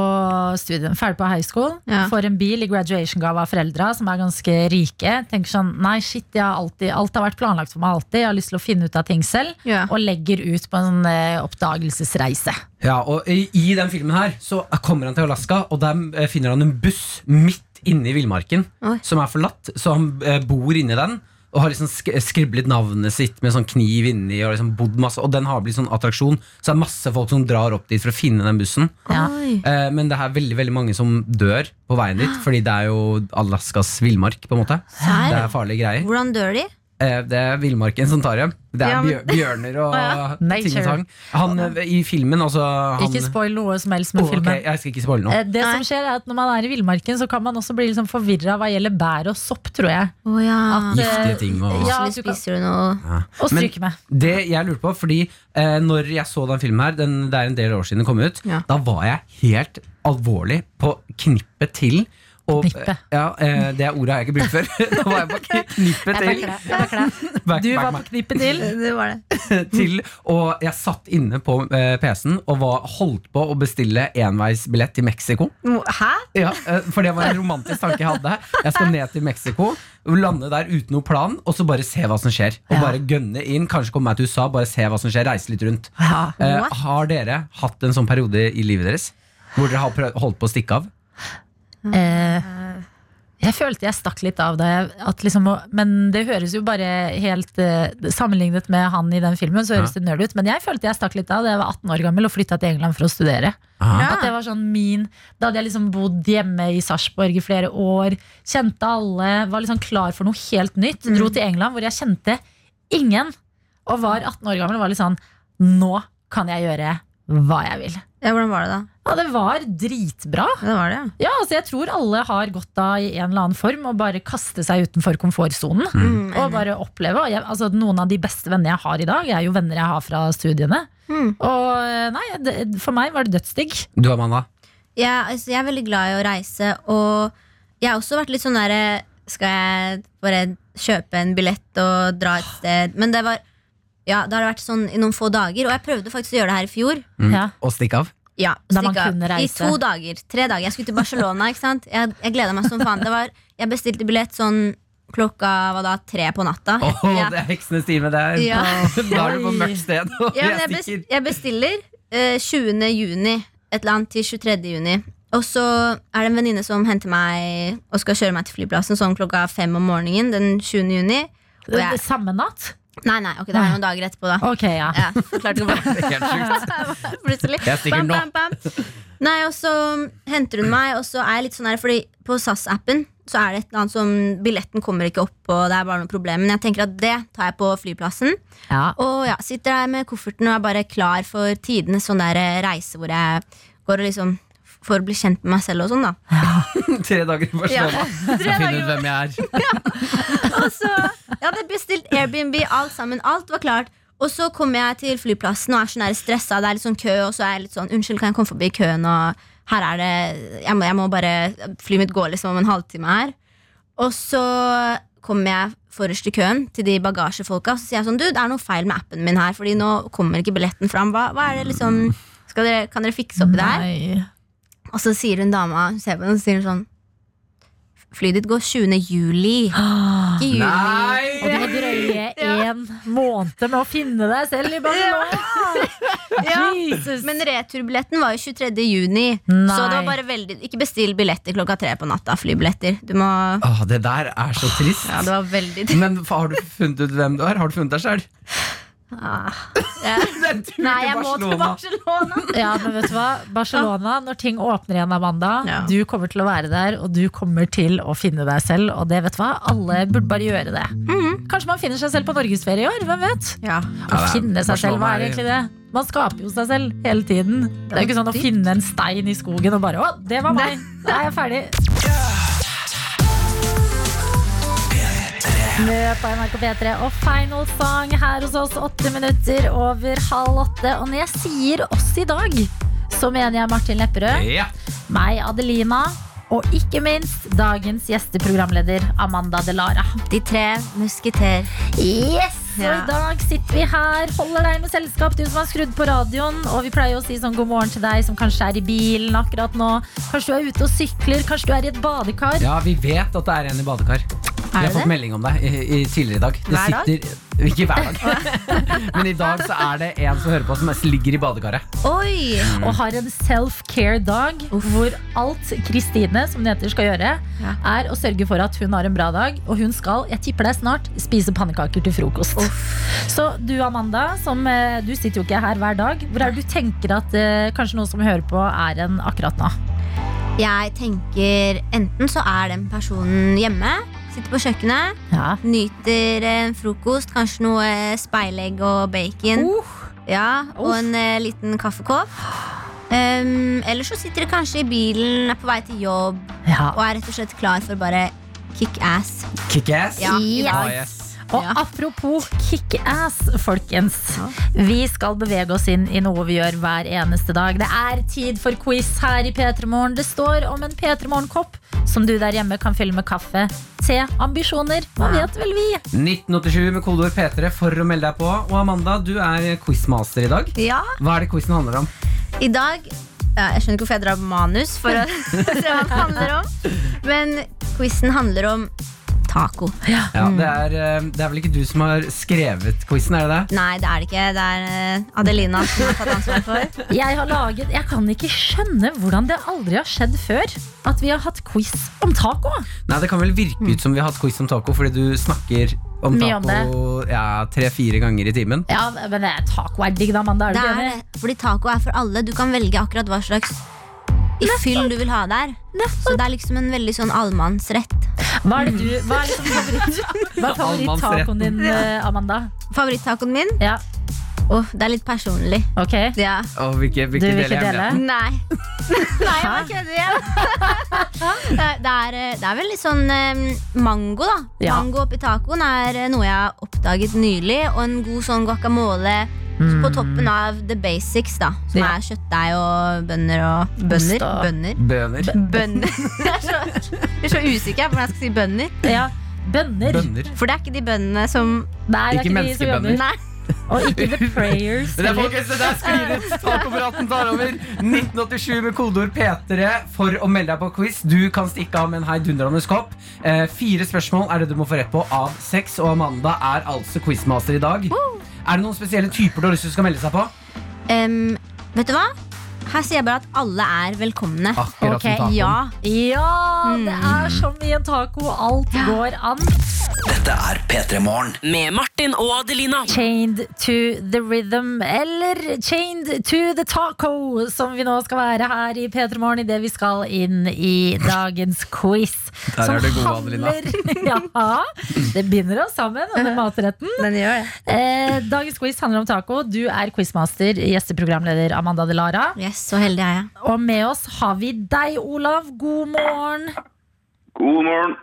[SPEAKER 3] studien, ferdig på high school.
[SPEAKER 5] Ja.
[SPEAKER 3] Får en bil i graduation-gave av foreldra, som er ganske rike. Tenker sånn Nei, shit, jeg har alltid, alt har vært planlagt for meg alltid. Jeg har lyst til å finne ut av ting selv.
[SPEAKER 5] Ja.
[SPEAKER 3] Og legger ut på en eh, oppdagelsesreise.
[SPEAKER 4] Ja, og i, i den filmen her så kommer han til Alaska, og der eh, finner han en buss midt inne i villmarken
[SPEAKER 5] Oi.
[SPEAKER 4] som er forlatt, så han eh, bor inni den. Og har liksom sk skriblet navnet sitt med sånn kniv inni. Og liksom bodd masse Og den har blitt sånn attraksjon, så det er masse folk som drar opp dit for å finne den bussen.
[SPEAKER 3] Ja.
[SPEAKER 5] Oi.
[SPEAKER 4] Eh, men det er veldig veldig mange som dør på veien dit, fordi det er jo Alaskas villmark. på en måte
[SPEAKER 5] Serr?
[SPEAKER 4] Det er farlige greier.
[SPEAKER 5] Hvordan dør de?
[SPEAKER 4] Eh, det er villmarken som tar dem. Det er
[SPEAKER 5] Ja, men-
[SPEAKER 4] bjør- bjørner og
[SPEAKER 3] Å ja.
[SPEAKER 4] ting og tang. Han eh, i filmen, altså han,
[SPEAKER 3] Ikke spoil noe som helst med
[SPEAKER 4] Å, ok,
[SPEAKER 3] filmen.
[SPEAKER 4] jeg skal ikke spoile noe.
[SPEAKER 3] Eh, Det som
[SPEAKER 5] Nei.
[SPEAKER 3] skjer er at Når man er i villmarken, så kan man også bli liksom forvirra hva gjelder bær og sopp, tror jeg.
[SPEAKER 5] Å ja.
[SPEAKER 3] At, eh,
[SPEAKER 4] Giftige ting og-
[SPEAKER 3] ja,
[SPEAKER 5] Ah, Plutselig
[SPEAKER 3] du kan,
[SPEAKER 5] spiser du noe
[SPEAKER 3] og
[SPEAKER 4] Men-
[SPEAKER 3] stryke med.
[SPEAKER 4] Det jeg lurte på, fordi eh, når jeg så den filmen her, den, det er en del år siden den kom ut,
[SPEAKER 5] Ja.
[SPEAKER 4] da var jeg helt alvorlig på knippet til å-
[SPEAKER 3] Knippet.
[SPEAKER 4] Ja, eh, det ordet har jeg ikke brukt før. da var jeg på knippet
[SPEAKER 3] Jeg backer deg.
[SPEAKER 4] til.
[SPEAKER 3] Jeg backer deg.
[SPEAKER 4] Back-
[SPEAKER 3] Du
[SPEAKER 4] back
[SPEAKER 3] var
[SPEAKER 4] meg.
[SPEAKER 3] på knippet til.
[SPEAKER 5] Det var det.
[SPEAKER 4] til Og jeg satt inne på eh, PC-en og var, holdt på å bestille enveisbillett til Mexico.
[SPEAKER 5] Hæ?
[SPEAKER 4] Ja, eh, for det var en romantisk tanke jeg hadde. Jeg skal ned til Mexico, lande der uten noen plan, og så bare se hva som skjer.
[SPEAKER 3] Ja.
[SPEAKER 4] Og bare gønne inn, kanskje komme meg til USA, bare se hva som skjer, reise litt rundt.
[SPEAKER 3] Ja.
[SPEAKER 4] Eh,
[SPEAKER 5] What?
[SPEAKER 4] har dere hatt en sånn periode i livet deres hvor dere har prøvd, holdt på å stikke av?
[SPEAKER 3] Eh, jeg følte jeg stakk litt av da jeg at liksom, å- Men det høres jo bare helt eh, Sammenlignet med han i den filmen, så høres det nerd ut. Men jeg følte jeg stakk litt av da jeg var 18 år gammel og flytta til England for å studere.
[SPEAKER 5] Ja.
[SPEAKER 3] At det var sånn min Da hadde jeg liksom bodd hjemme i Sarpsborg i flere år. Kjente alle, var liksom klar for noe helt nytt. Dro til England hvor jeg kjente ingen. Og var 18 år gammel og var litt sånn Nå kan jeg gjøre hva jeg vil.
[SPEAKER 5] Ja, hvordan var det da?
[SPEAKER 3] Ja, det var dritbra.
[SPEAKER 5] Ja, det var det, ja.
[SPEAKER 3] Ja, altså jeg tror alle har godt av i en eller annen form å bare kaste seg utenfor komfortsonen.
[SPEAKER 5] Mm,
[SPEAKER 3] Og bare oppleve. Og jeg, altså, noen av de beste vennene jeg har i dag, er jo venner jeg har fra studiene.
[SPEAKER 5] Mm.
[SPEAKER 3] Og eh, nei, det, for meg var det dødsdigg.
[SPEAKER 4] Du Amanda?
[SPEAKER 5] Jeg, altså, jeg er veldig glad i å reise, og jeg har også vært litt sånn derre Skal jeg bare kjøpe en billett og dra et sted? Men det var Ja, det har vært sånn i noen få dager, og jeg prøvde faktisk å gjøre det her i fjor.
[SPEAKER 3] Ja.
[SPEAKER 4] mm, Å stikke av?
[SPEAKER 5] Ja,
[SPEAKER 3] Da man
[SPEAKER 5] stikk av.
[SPEAKER 3] kunne
[SPEAKER 5] I
[SPEAKER 3] reise.
[SPEAKER 5] to dager. Tre dager. Jeg skulle til Barcelona, ikke sant. Jeg, jeg gleda meg som faen. Det var, jeg bestilte billett sånn klokka hva da, tre på natta.
[SPEAKER 4] Åh,
[SPEAKER 5] Ja.
[SPEAKER 4] det er heksenes time der!
[SPEAKER 5] Ja.
[SPEAKER 4] Da er du på mørkt sted. og
[SPEAKER 5] Ja, men
[SPEAKER 4] jeg
[SPEAKER 5] jeg, bes
[SPEAKER 4] stikker.
[SPEAKER 5] jeg bestiller eh, 20. juni et eller annet til 23. juni. Og så er det en venninne som henter meg og skal kjøre meg til flyplassen sånn klokka fem om morgenen den 20. juni.
[SPEAKER 3] Det-
[SPEAKER 5] Og jeg,
[SPEAKER 3] Samme natt?
[SPEAKER 5] nei, nei, ok, det er noen dager etterpå, da.
[SPEAKER 3] Ok, ja.
[SPEAKER 5] Ja, klarte ikke å
[SPEAKER 4] Det er helt sjukt.
[SPEAKER 5] Plutselig.
[SPEAKER 4] Jeg stikker nå.
[SPEAKER 5] Bam, bam, bam. Nei, og så henter hun meg, og så er jeg litt sånn her, fordi på SAS-appen så er det et eller annet som billetten kommer ikke opp, og det er bare noe problem. Men jeg tenker at det tar jeg på flyplassen.
[SPEAKER 3] ja.
[SPEAKER 5] Og ja, sitter der med kofferten og er bare klar for tidenes sånn der eh, reise hvor jeg går og liksom får bli kjent med meg selv og sånn, da.
[SPEAKER 4] Tre dager i Barcelona. Skal finne ut hvem jeg er.
[SPEAKER 5] Og så, Altså, jeg hadde bestilt Airbnb, alt sammen. Alt var klart. Og så kommer jeg til flyplassen og er sånn der stressa. Det er litt sånn kø, og så er jeg litt sånn Unnskyld, kan jeg komme forbi køen? Og her er det Jeg må, jeg må bare Flyet mitt går liksom om en halvtime her. Og så kommer jeg forrest i køen til de bagasjefolka, og så sier jeg sånn Du, det er noe feil med appen min her, Fordi nå kommer ikke billetten fram. Hva, hva er det liksom skal dere, Kan dere fikse opp i det her?
[SPEAKER 3] Nei.
[SPEAKER 5] Og så sier hun dama, hun ser på den, og så sier hun sånn Flyet ditt går 20. juli. Ikke juli.
[SPEAKER 3] Og du må drøye en måned med å finne deg selv i Barcelona! Jesus!
[SPEAKER 5] Men returbilletten var jo 23. juni.
[SPEAKER 3] Nei.
[SPEAKER 5] Så det var bare veldig Ikke bestill billetter klokka tre på natta. Flybilletter. Du må
[SPEAKER 4] Åh, det der er så trist.
[SPEAKER 5] Ja, det var veldig
[SPEAKER 4] Men fa- har du funnet ut hvem du er? Har du funnet deg sjøl?
[SPEAKER 5] ah. Ja. Nei, jeg må til Barcelona.
[SPEAKER 3] Ja, men vet du hva? Barcelona, når ting åpner igjen, Amanda,
[SPEAKER 5] Ja.
[SPEAKER 3] du kommer til å være der, og du kommer til å finne deg selv, og det vet du hva? Alle burde bare gjøre det. Kanskje man finner seg selv på norgesferie i år, hvem vet?
[SPEAKER 4] Ja,
[SPEAKER 5] Ja.
[SPEAKER 3] Å
[SPEAKER 4] det er-
[SPEAKER 3] finne seg selv, hva er
[SPEAKER 4] Barcelona er-
[SPEAKER 3] egentlig det? Man skaper jo seg selv hele tiden. Det er jo ikke sånn å finne en stein i skogen og bare 'Å, det var meg'. Da er jeg ferdig. Mø på NRK P3 og Final Song her hos oss åtte minutter over halv åtte. Og når jeg sier oss i dag, så mener jeg Martin Lepperød,
[SPEAKER 4] Ja.
[SPEAKER 3] meg Adelina og ikke minst dagens gjesteprogramleder Amanda Delara.
[SPEAKER 5] De tre musketer.
[SPEAKER 3] Yes! Og
[SPEAKER 5] Ja.
[SPEAKER 3] i dag sitter vi her, holder deg med selskap, du som har skrudd på radioen. Og vi pleier å si sånn god morgen til deg som kanskje er i bilen akkurat nå. Kanskje du er ute og sykler, kanskje du er i et badekar.
[SPEAKER 4] Ja, vi vet at det er en i badekar. Vi har
[SPEAKER 5] det?
[SPEAKER 4] fått melding om deg i, i tidligere i dag. Det
[SPEAKER 5] Hver dag?
[SPEAKER 4] sitter- Ikke hver dag. Men i dag så er det en som hører på, som ligger i badekaret.
[SPEAKER 5] Oi!
[SPEAKER 3] og har en self-care-dag hvor alt Kristine som det heter, skal gjøre,
[SPEAKER 5] Ja.
[SPEAKER 3] er å sørge for at hun har en bra dag. Og hun skal, jeg tipper deg snart, spise pannekaker til frokost. Så du Amanda, som, eh, du sitter jo ikke her hver dag. Hvor er det du tenker at eh, kanskje noen som hører på, er en akkurat nå?
[SPEAKER 5] Jeg tenker enten så er den personen hjemme, sitter på kjøkkenet,
[SPEAKER 3] Ja.
[SPEAKER 5] nyter en frokost, kanskje noe speilegg og bacon. Ja, og en eh, liten kaffekopp. Um, eller så sitter de kanskje i bilen, er på vei til jobb
[SPEAKER 3] ja.
[SPEAKER 5] og er rett og slett klar for bare kick ass.
[SPEAKER 4] Kickass.
[SPEAKER 5] Ja, i dag.
[SPEAKER 4] Ah, yes.
[SPEAKER 3] Og
[SPEAKER 5] Ja.
[SPEAKER 3] apropos kickass, folkens. Vi skal bevege oss inn i noe vi gjør hver eneste dag. Det er tid for quiz her i P3 Morgen. Det står om en P3 Morgen-kopp som du der hjemme kan fylle med kaffe, te, ambisjoner. Hva vet vel vi?
[SPEAKER 4] 1987 med kodeord P3 for å melde deg på. Og Amanda, du er quizmaster i dag.
[SPEAKER 5] Ja,
[SPEAKER 4] Hva er det quizen handler om?
[SPEAKER 5] I dag ja, Jeg skjønner ikke hvorfor jeg drar manus for å se hva det handler om. Men quizen handler om taco.
[SPEAKER 4] Ja,
[SPEAKER 5] Mm.
[SPEAKER 4] det, er, eh, det er vel ikke du som har skrevet quizen, er det det?
[SPEAKER 5] Nei, det er det ikke. Det er eh, Adelina som har tatt ansvar for.
[SPEAKER 3] Jeg har laget Jeg kan ikke skjønne hvordan det aldri har skjedd før at vi har hatt quiz om taco.
[SPEAKER 4] Nei, det kan vel virke ut som vi har hatt quiz om taco, fordi du snakker om
[SPEAKER 3] Mm. Mye om
[SPEAKER 4] taco ja, tre-fire ganger i timen.
[SPEAKER 3] Ja, men eh, taco er digg, da, Amanda. Er du
[SPEAKER 5] Det
[SPEAKER 3] ikke
[SPEAKER 5] er,
[SPEAKER 3] enig?
[SPEAKER 5] det. fordi taco er for alle. Du kan velge akkurat hva slags i fyll du vil ha der. Så det er liksom en veldig sånn allmannsrett.
[SPEAKER 3] Hva er det du Hva er liksom favoritt, hva er favoritt-tacoen din, eh, Amanda?
[SPEAKER 5] Favorittacoen min?
[SPEAKER 3] Ja,
[SPEAKER 5] Åh, det er litt personlig.
[SPEAKER 3] ok
[SPEAKER 5] Ja.
[SPEAKER 4] Og hvilke,
[SPEAKER 3] Du
[SPEAKER 4] hvilke
[SPEAKER 3] vil ikke
[SPEAKER 4] deler er
[SPEAKER 3] dele?
[SPEAKER 4] hemmeligheten?
[SPEAKER 5] Nei. Nei, jeg bare kødder igjen. det, det, er, eh, det er vel litt sånn eh, mango, da.
[SPEAKER 3] Ja.
[SPEAKER 5] Mango oppi tacoen er eh, noe jeg har oppdaget nylig. Og en god sånn guacamole på toppen av the basics, da. Som
[SPEAKER 3] Ja.
[SPEAKER 5] er kjøttdeig og bønner og
[SPEAKER 3] Ost
[SPEAKER 5] Bønner?
[SPEAKER 3] og-
[SPEAKER 5] Bønner?
[SPEAKER 4] Bøner.
[SPEAKER 5] Bønner. jeg, er så, jeg er så usikker på hvordan jeg skal si bønner.
[SPEAKER 3] Ja, bønner.
[SPEAKER 4] Bønner.
[SPEAKER 5] For det er ikke de bøndene som
[SPEAKER 3] Nei, det er ikke,
[SPEAKER 4] Ikke
[SPEAKER 3] de som
[SPEAKER 4] menneskebønner.
[SPEAKER 3] jobber.
[SPEAKER 5] Nei.
[SPEAKER 3] Og ikke The Prayers.
[SPEAKER 4] Men det er
[SPEAKER 3] heller.
[SPEAKER 4] folkens, det der sklir ut. Tacopraten tar over. 1987 med kodeord P3 for å melde deg på quiz. Du kan stikke av med en heidundrende kopp. Eh, fire spørsmål er det du må få rett på av seks, og Amanda er altså quizmaster i dag. Er det noen spesielle typer du har lyst til å skal melde seg på?
[SPEAKER 5] Em, vet du hva? Her sier jeg bare at alle er velkomne.
[SPEAKER 4] Akkurat
[SPEAKER 3] Ok,
[SPEAKER 4] som tacoen.
[SPEAKER 5] Ja.
[SPEAKER 3] Ja, det er som i en taco. Alt går an.
[SPEAKER 6] Dette er P3 Morgen.
[SPEAKER 2] Med Martin og Adelina.
[SPEAKER 3] Chained to the rhythm, eller Chained to the taco, som vi nå skal være her i P3 Morgen idet vi skal inn i dagens quiz.
[SPEAKER 4] Der
[SPEAKER 3] som
[SPEAKER 4] er du god, Adelina.
[SPEAKER 3] handler- ja, det binder oss sammen under matretten.
[SPEAKER 5] Den gjør det.
[SPEAKER 3] Eh, dagens quiz handler om taco. Du er quizmaster, gjesteprogramleder Amanda Delara.
[SPEAKER 5] Yes, så heldig er jeg.
[SPEAKER 3] Og med oss har vi deg, Olav. God morgen.
[SPEAKER 7] God morgen.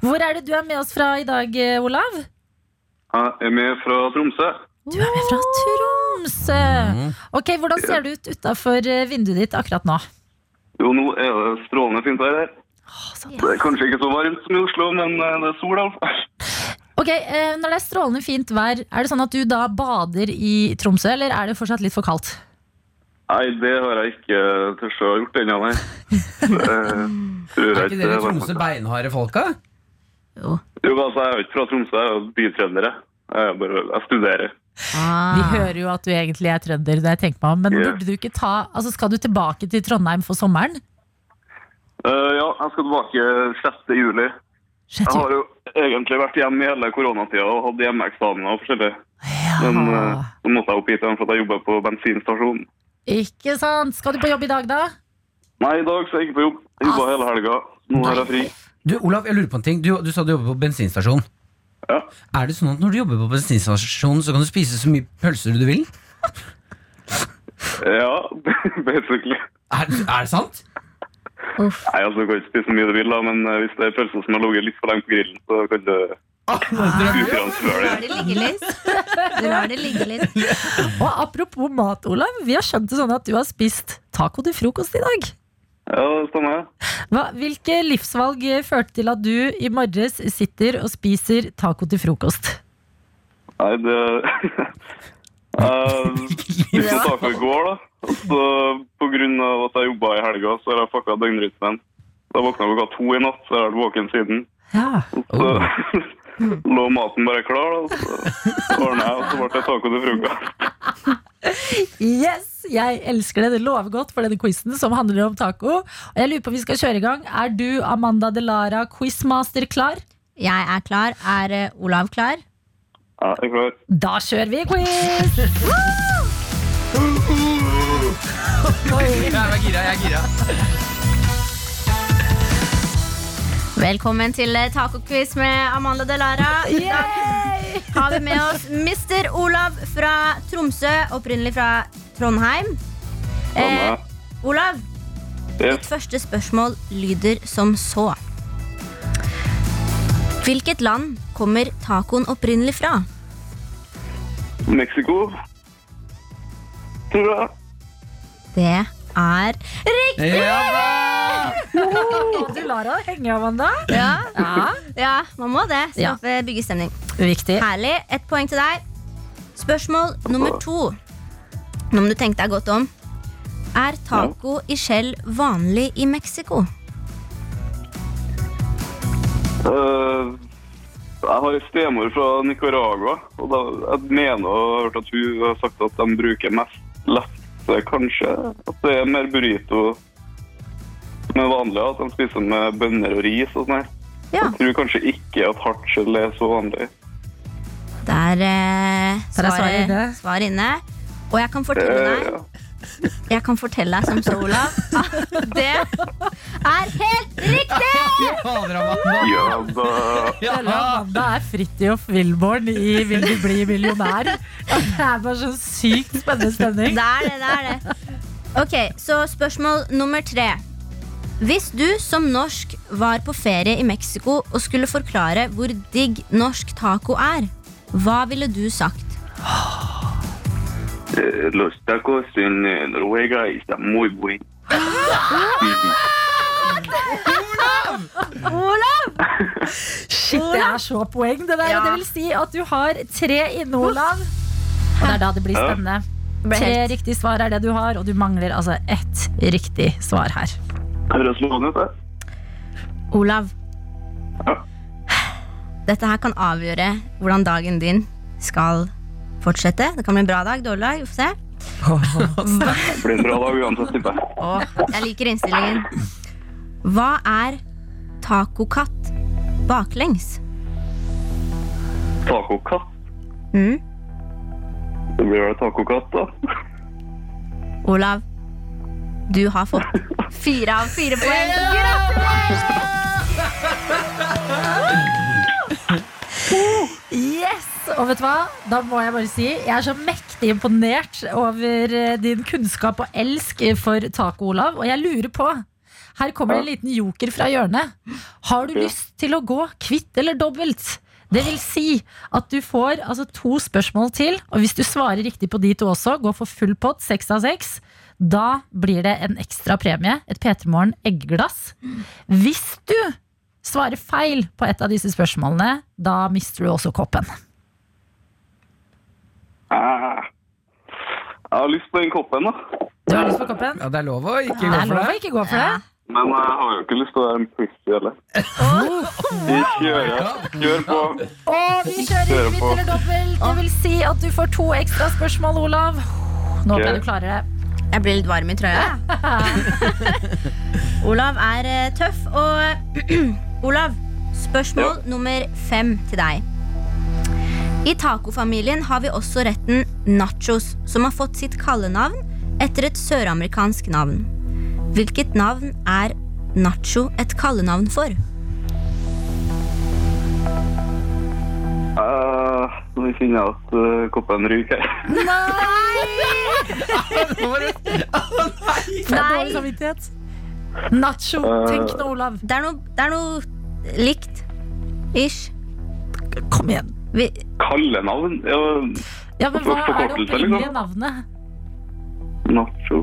[SPEAKER 3] Hvor er det du er med oss fra i dag, eh, Olav?
[SPEAKER 7] Jeg er med fra Tromsø.
[SPEAKER 3] Du er med fra Tromsø.
[SPEAKER 7] Mm-hmm.
[SPEAKER 3] Ok, Hvordan ser det ut utafor eh, vinduet ditt akkurat nå?
[SPEAKER 7] Jo, nå er det strålende fint vær her. Det er kanskje ikke så varmt som i Oslo, men eh, det er sol, iallfall.
[SPEAKER 3] Ok, eh, Når det er strålende fint vær, er det sånn at du da bader i Tromsø, eller er det fortsatt litt for kaldt?
[SPEAKER 7] Nei, det har jeg ikke tørt å ha gjort ennå, nei. Det tror
[SPEAKER 4] Er
[SPEAKER 7] jeg
[SPEAKER 4] ikke
[SPEAKER 7] ikke.
[SPEAKER 4] dere
[SPEAKER 7] det var-
[SPEAKER 4] Tromsø beinharde folka?
[SPEAKER 7] Jo, altså, jeg er jo ikke fra Tromsø, jeg er jo bytrønder. jeg. Jeg, er bare, jeg studerer.
[SPEAKER 3] Vi
[SPEAKER 5] Ah.
[SPEAKER 3] hører jo at du egentlig er trønder, det tenker meg om. Men
[SPEAKER 7] Ja.
[SPEAKER 3] burde du ikke ta, altså skal du tilbake til Trondheim for sommeren?
[SPEAKER 7] Eh, ja, jeg skal tilbake 6. juli. Jeg har jo egentlig vært hjemme i hele koronatida og hatt hjemmeeksamener og forskjellig. Men eh, så måtte jeg opp hit igjen for at jeg jobber på bensinstasjonen.
[SPEAKER 3] Ikke sant? Skal du på jobb i dag, da?
[SPEAKER 7] Nei, i dag skal jeg ikke på jobb. Jeg jobba hele helga. Nå har jeg fri.
[SPEAKER 4] Du, Olav, jeg lurer på en ting. Du, du sa du jobber på bensinstasjon.
[SPEAKER 7] Ja.
[SPEAKER 4] Er det sånn at når du jobber på bensinstasjonen, så kan du spise så mye pølser du vil?
[SPEAKER 7] Ja, basically.
[SPEAKER 4] Er, er det sant?
[SPEAKER 7] Nei, altså, Du kan ikke spise så mye du vil, da, men eh, hvis det er pølser som har ligget litt for lenge på grillen, så kan du Ufinansvarlig.
[SPEAKER 5] Lar det ligge litt. Du lar det ligge litt.
[SPEAKER 3] Og apropos mat, Olav. Vi har skjønt det sånn at du har spist taco til frokost i dag.
[SPEAKER 7] Ja, det stemmer.
[SPEAKER 3] Hva, hvilke livsvalg førte til at du i morges sitter og spiser taco til frokost?
[SPEAKER 7] Nei, det Eh, Spiste taco i går, da. Og så på grunn av at jeg jobba i helga, så har jeg fucka døgnrytmen. Da våkna jeg klokka to i natt, så jeg har vært våken siden.
[SPEAKER 3] Ja.
[SPEAKER 7] Så lå maten bare klar, da. Så ordna jeg, og så ble det taco til frokost.
[SPEAKER 3] Yes! Jeg elsker det. Det lover godt for denne quizen som handler om taco. Og jeg lurer på om vi skal kjøre i gang. Er du, Amanda Delara, quizmaster, klar?
[SPEAKER 5] Jeg er klar. Er eh, Olav klar?
[SPEAKER 7] Ja, jeg er klar.
[SPEAKER 3] Da kjører vi quiz!
[SPEAKER 4] Jeg er gira, jeg er gira.
[SPEAKER 5] Velkommen til eh, tacoquiz med Amanda Delara. I dag har vi med oss Mr. Olav fra Tromsø, opprinnelig fra Trondheim.
[SPEAKER 7] Samme.
[SPEAKER 5] Eh, Olav, ditt
[SPEAKER 7] Yes.
[SPEAKER 5] første spørsmål lyder som så. Hvilket land kommer tacoen opprinnelig fra?
[SPEAKER 7] Mexico. Tror jeg.
[SPEAKER 5] Det er riktig!
[SPEAKER 4] Ja,
[SPEAKER 3] Amanda Delara henger, Amanda.
[SPEAKER 5] Ja,
[SPEAKER 3] Ja,
[SPEAKER 5] ja man må det.
[SPEAKER 3] Ja.
[SPEAKER 5] Skape bygge stemning.
[SPEAKER 3] Viktig.
[SPEAKER 5] Herlig. Ett poeng til deg. Spørsmål nummer to. Nå må du tenke deg godt om. Er taco i skjell vanlig i Mexico?
[SPEAKER 7] Eh, jeg har en stemor fra Nicaragua, og da, jeg mener og har hørt at hun har sagt at de bruker mest lefse, kanskje. At det er mer burrito med vanlig, at de spiser med bønner og ris og sånn. her.
[SPEAKER 5] Ja.
[SPEAKER 7] Jeg tror kanskje ikke at hardt skjell er så vanlig.
[SPEAKER 5] Der
[SPEAKER 3] Der
[SPEAKER 5] eh,
[SPEAKER 3] er svaret
[SPEAKER 5] svaret,
[SPEAKER 3] inne.
[SPEAKER 5] svaret inne. Og jeg kan fortelle
[SPEAKER 7] Eh,
[SPEAKER 5] deg, jeg kan fortelle deg som så, Olav, at det er helt riktig!
[SPEAKER 4] Fader, Amanda.
[SPEAKER 7] ja, da,
[SPEAKER 3] Eller Amanda er Fridtjof Wilborn i Vil du bli millionær. Det er bare sånn sykt spennende stemning.
[SPEAKER 5] Det er det, det er det. Ok, så spørsmål nummer tre. Hvis du som norsk var på ferie i Mexico og skulle forklare hvor digg norsk taco er, hva ville du sagt?
[SPEAKER 7] eh, Los tacos en Noruega está muy buen.
[SPEAKER 3] Shit, det er så poeng, det der.
[SPEAKER 5] Ja.
[SPEAKER 3] Det vil si at du har tre inne, Olav. Og det er da det blir spennende.
[SPEAKER 5] Ble
[SPEAKER 3] Tre
[SPEAKER 5] helt-
[SPEAKER 3] riktige svar er det du har, og du mangler altså ett riktig svar her.
[SPEAKER 7] Høres lovende ut, det.
[SPEAKER 5] Olav,
[SPEAKER 7] Ja.
[SPEAKER 5] dette her kan avgjøre hvordan dagen din skal fortsette. Det kan bli en bra dag, dårlig dag, vi får se.
[SPEAKER 7] Det blir en bra dag uansett, tipper jeg.
[SPEAKER 5] Åh, jeg liker innstillingen. Hva er tacokatt baklengs?
[SPEAKER 7] Tacokatt.
[SPEAKER 5] Mm.
[SPEAKER 7] Det blir vel tacokatt, da.
[SPEAKER 5] Olav, du har fått fire av fire poeng. Gratulerer!
[SPEAKER 3] Yes! Og vet du hva? Da må jeg bare si jeg er så mektig imponert over eh, din kunnskap og elsk for taco, Olav. Og jeg lurer på Her kommer det en liten joker fra hjørnet. Har du
[SPEAKER 7] Ok.
[SPEAKER 3] lyst til å gå kvitt eller dobbelt? Det vil si at du får altså, to spørsmål til, og hvis du svarer riktig på de to også, gå for full pott, seks av seks, da blir det en ekstra premie, et P3 Morgen eggeglass. Hvis du svarer feil på et av disse spørsmålene, da mister du også koppen.
[SPEAKER 7] Ah. Jeg har lyst på den koppen, da.
[SPEAKER 3] Du har lyst på koppen?
[SPEAKER 4] Ja, det er lov å ikke
[SPEAKER 3] Det
[SPEAKER 4] gå
[SPEAKER 3] er
[SPEAKER 4] for
[SPEAKER 3] lov å
[SPEAKER 4] det.
[SPEAKER 3] ikke gå for det.
[SPEAKER 7] Men jeg har jo ikke lyst til å være en pussy heller. Vi kjører. Kjør på.
[SPEAKER 3] Og vi kjører
[SPEAKER 7] Kjører
[SPEAKER 3] kvitt
[SPEAKER 7] på.
[SPEAKER 3] eller dobbelt. Det vil si at du får to ekstra spørsmål, Olav. Nå ble
[SPEAKER 7] Ok.
[SPEAKER 3] du klarere.
[SPEAKER 5] Jeg blir litt varm i trøya. Olav er eh, tøff, og Olav, spørsmål nummer fem til deg. I tacofamilien har vi også retten nachos, som har fått sitt kallenavn etter et søramerikansk navn. Hvilket navn er nacho et kallenavn for?
[SPEAKER 7] Eh, Nå finner jeg at eh, koppen ryker her.
[SPEAKER 3] Får jeg dårlig samvittighet?
[SPEAKER 7] Eh,
[SPEAKER 3] Nacho. Tenk nå, Olav.
[SPEAKER 5] Det er noe, det er noe likt. Ish.
[SPEAKER 3] Kom igjen.
[SPEAKER 5] Vi,
[SPEAKER 7] Kallenavn? Ja,
[SPEAKER 3] Ja, men hva er det
[SPEAKER 7] Forkortelse,
[SPEAKER 3] opprinnelige
[SPEAKER 7] liksom?
[SPEAKER 3] navnet?
[SPEAKER 7] nacho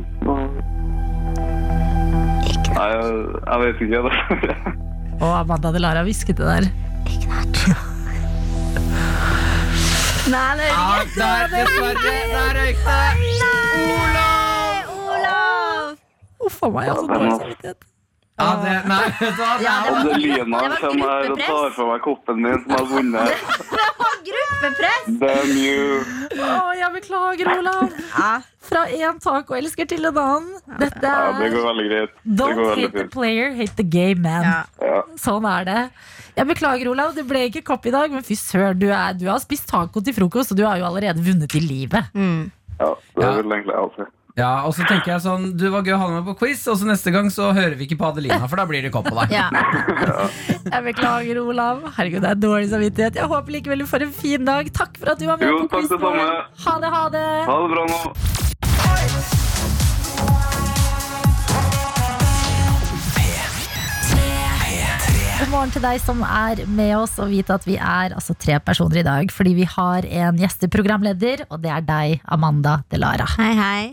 [SPEAKER 7] Nei, jeg, jeg vet ikke. det.
[SPEAKER 3] Å, Amanda Delara hvisket det der.
[SPEAKER 5] nei, det er
[SPEAKER 4] Ja, der, dessverre. Der røyk det. Olav!
[SPEAKER 5] Olav!
[SPEAKER 3] Uff a meg, altså. Dårlig samvittighet.
[SPEAKER 4] Ja, det, nei, vet du hva? Det
[SPEAKER 5] Ja,
[SPEAKER 4] er
[SPEAKER 5] det
[SPEAKER 4] Olav.
[SPEAKER 5] var-
[SPEAKER 7] Det er Lina
[SPEAKER 5] Det var
[SPEAKER 7] som her og tar
[SPEAKER 5] gruppepress.
[SPEAKER 7] fra meg koppen min som har vunnet.
[SPEAKER 5] Gruppepress!
[SPEAKER 7] Damn you.
[SPEAKER 3] Å, jeg beklager, Olav. Fra én tacoelsker til en annen. Dette
[SPEAKER 7] Ja, det
[SPEAKER 3] er
[SPEAKER 7] går veldig greit. Det
[SPEAKER 3] Don't
[SPEAKER 7] går veldig
[SPEAKER 3] hate the
[SPEAKER 7] fint.
[SPEAKER 3] player, hate the gay man.
[SPEAKER 5] Ja.
[SPEAKER 7] Ja.
[SPEAKER 3] Sånn er det. Jeg beklager, Olav. Det ble ikke kopp i dag, men fy søren, du, er- du har spist taco til frokost, og du har jo allerede vunnet i livet.
[SPEAKER 7] Ja, det
[SPEAKER 4] Ja.
[SPEAKER 7] vil egentlig jeg også.
[SPEAKER 4] Ja, og så tenker jeg sånn, du var gøy å ha deg med på quiz, og så neste gang så hører vi ikke på Adelina, for da blir det kopp på deg.
[SPEAKER 5] Ja.
[SPEAKER 3] Jeg beklager, Olav. Herregud, det er dårlig samvittighet. Jeg håper likevel du får en fin dag. Takk for at du var med
[SPEAKER 7] Jo,
[SPEAKER 3] på
[SPEAKER 7] takk det
[SPEAKER 3] quizbordet.
[SPEAKER 7] samme.
[SPEAKER 3] Ha det, ha det.
[SPEAKER 7] Ha det bra nå.
[SPEAKER 3] God morgen til deg som er med oss, og vite at vi er altså tre personer i dag, fordi vi har en gjesteprogramleder, og det er deg, Amanda Delara.
[SPEAKER 5] Hei, hei.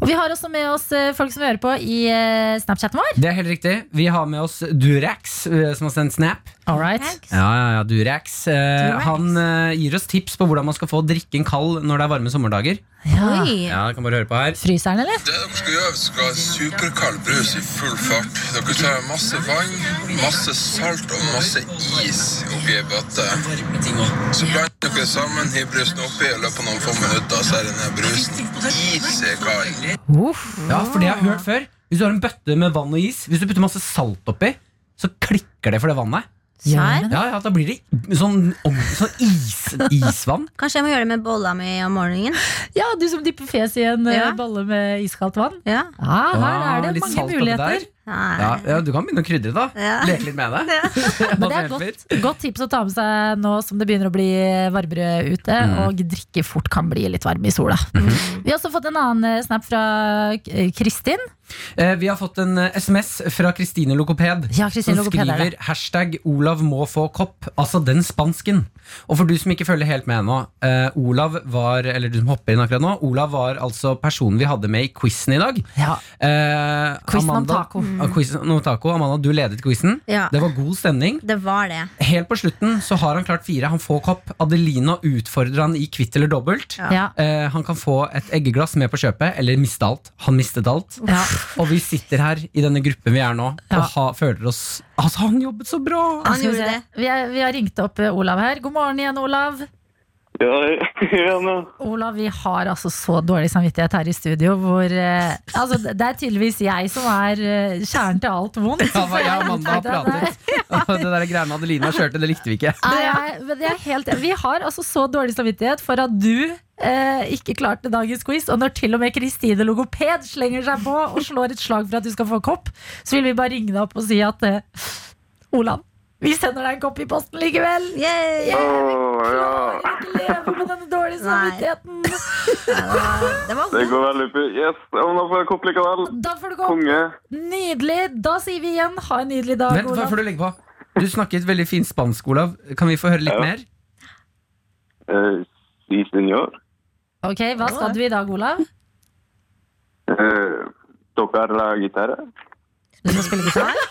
[SPEAKER 3] Og vi har også med oss eh, folk som hører på i eh, Snapchaten vår.
[SPEAKER 4] Det er helt riktig. Vi har med oss Durex, eh, som har sendt snap.
[SPEAKER 3] All right.
[SPEAKER 4] Ja, ja, ja, Durex. Eh,
[SPEAKER 3] Durex.
[SPEAKER 4] Han eh, gir oss tips på hvordan man skal få drikken kald når det er varme sommerdager.
[SPEAKER 3] Ja.
[SPEAKER 5] Oi.
[SPEAKER 4] Ja, jeg kan bare høre på her.
[SPEAKER 3] Fryseren, eller?
[SPEAKER 8] Det dere skal gjøre, dere skal ha superkald brus i full fart. Dere tar masse vann, masse salt og masse is oppi ei bøtte. Så blander dere sammen hivbrusen oppi i løpet av noen få minutter, så er denne brusen isekald.
[SPEAKER 3] Uff.
[SPEAKER 4] Ja, for det jeg har hørt før. Hvis du har en bøtte med vann og is, hvis du putter masse salt oppi, så klikker det for det vannet.
[SPEAKER 5] Serr?
[SPEAKER 4] Ja, ja, Da blir det sånn, sånn is, isvann.
[SPEAKER 5] Kanskje jeg må gjøre det med bolla mi om morgenen?
[SPEAKER 3] Ja, du som dypper fjes i en eh,
[SPEAKER 5] Ja.
[SPEAKER 3] balle med iskaldt vann.
[SPEAKER 5] Ja.
[SPEAKER 3] Ja, her
[SPEAKER 4] Ah,
[SPEAKER 3] er det
[SPEAKER 4] litt
[SPEAKER 3] mange
[SPEAKER 4] salt oppi
[SPEAKER 3] muligheter.
[SPEAKER 4] der.
[SPEAKER 5] Nei.
[SPEAKER 4] Ja, ja, du kan begynne å krydre, da.
[SPEAKER 5] Ja.
[SPEAKER 4] Leke litt med det.
[SPEAKER 3] Men det er godt, godt tips å ta med seg nå som det begynner å bli varmere ute, og drikke fort kan bli litt varm i sola. Vi har også fått en annen eh, snap fra eh, Kristin.
[SPEAKER 4] Eh, Vi har fått en eh, SMS fra Kristine Lokoped
[SPEAKER 3] Ja, Kristine
[SPEAKER 4] som
[SPEAKER 3] Lokoped er det.
[SPEAKER 4] skriver hashtag 'Olav må få kopp', altså den spansken. Og for du som ikke følger helt med ennå, eh, Olav var, eller du som hopper inn akkurat nå, Olav var altså personen vi hadde med i quizen i dag.
[SPEAKER 3] Ja.
[SPEAKER 4] Eh,
[SPEAKER 3] Quizen om taco.
[SPEAKER 4] Ja, quizen om taco. Amanda, du ledet quizen.
[SPEAKER 5] Ja.
[SPEAKER 4] Det var god stemning.
[SPEAKER 5] Det var det.
[SPEAKER 4] Helt på slutten så har han klart fire. Han får kopp. Adelina utfordrer han i kvitt eller dobbelt.
[SPEAKER 3] Ja.
[SPEAKER 4] Eh, han kan få et eggeglass med på kjøpet, eller miste alt. Han mistet alt.
[SPEAKER 3] Ja.
[SPEAKER 4] Og vi sitter her i denne gruppen vi er nå,
[SPEAKER 3] Ja.
[SPEAKER 4] og ha, føler oss Altså, han jobbet så bra!
[SPEAKER 3] Skal
[SPEAKER 5] Han
[SPEAKER 3] vi
[SPEAKER 5] gjorde
[SPEAKER 3] se.
[SPEAKER 5] det.
[SPEAKER 3] Vi, er, vi har ringt opp eh, Olav her. God morgen igjen, Olav.
[SPEAKER 7] Ja, ja, ja.
[SPEAKER 3] Olav, vi har altså så dårlig samvittighet her i studio, hvor eh, altså, Det er tydeligvis jeg som er eh, kjernen til alt vondt.
[SPEAKER 4] Ja, hva jeg og Amanda har pratet. Og det der greiene Adelina kjørte, det likte vi ikke.
[SPEAKER 3] Nei, jeg, men jeg er helt, vi har altså så dårlig samvittighet for at du eh, ikke klarte dagens quiz. Og når til og med Kristine Logoped slenger seg på og slår et slag for at du skal få kopp, så vil vi bare ringe deg opp og si at eh, Olav, vi sender deg en kopp i posten likevel.
[SPEAKER 5] Yay!
[SPEAKER 7] Å, ja.
[SPEAKER 3] Klarer ikke leve med denne dårlige
[SPEAKER 5] Nei.
[SPEAKER 3] samvittigheten.
[SPEAKER 5] Det var
[SPEAKER 7] Det går veldig fint. Yes, ja, men da får jeg kopp likevel.
[SPEAKER 3] Da får du gå.
[SPEAKER 7] Konge.
[SPEAKER 3] Nydelig. Da sier vi igjen ha en nydelig dag,
[SPEAKER 4] Vent, hva
[SPEAKER 3] Olav.
[SPEAKER 4] får du legge på? Du snakket veldig fint spansk, Olav. Kan vi få høre litt
[SPEAKER 7] Ja.
[SPEAKER 4] mer?
[SPEAKER 7] Eh, si senor.
[SPEAKER 3] Ok, Hva skal du i dag, Olav?
[SPEAKER 7] Eh, tocar la guitarra.
[SPEAKER 3] Du skal spille gitar?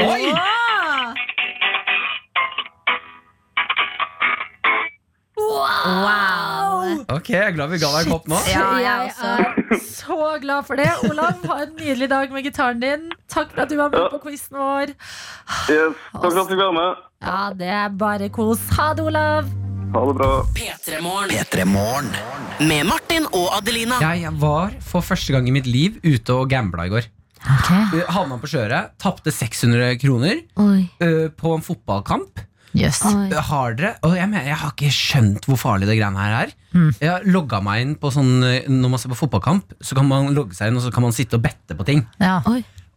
[SPEAKER 4] Oi!
[SPEAKER 5] Wow!
[SPEAKER 4] Ok, jeg er glad vi ga deg en kopp nå.
[SPEAKER 5] Ja, jeg
[SPEAKER 3] jeg
[SPEAKER 5] også.
[SPEAKER 3] er så glad for det. Olav, ha en nydelig dag med gitaren din. Takk for at du var med
[SPEAKER 7] Ja.
[SPEAKER 3] på quizen vår.
[SPEAKER 7] Yes, takk for at du fikk være med.
[SPEAKER 3] Ja, det er bare kos. Ha det, Olav.
[SPEAKER 7] Ha det bra.
[SPEAKER 2] P3-morgen.
[SPEAKER 6] P3 Morgen.
[SPEAKER 2] Med Martin og Adelina.
[SPEAKER 4] Jeg var for første gang i mitt liv ute og gambla i går.
[SPEAKER 3] Ok.
[SPEAKER 4] Eh, Havna på kjøret, tapte 600 kroner
[SPEAKER 5] Oi.
[SPEAKER 4] eh, på en fotballkamp.
[SPEAKER 3] Jøss.
[SPEAKER 5] Oi.
[SPEAKER 4] Eh, Har dere Og jeg, mener, jeg har ikke skjønt hvor farlig det greiene her er.
[SPEAKER 3] Mm.
[SPEAKER 4] Jeg har logga meg inn på sånn eh, Når man ser på fotballkamp, så kan man logge seg inn og så kan man sitte og bette på ting.
[SPEAKER 3] Ja.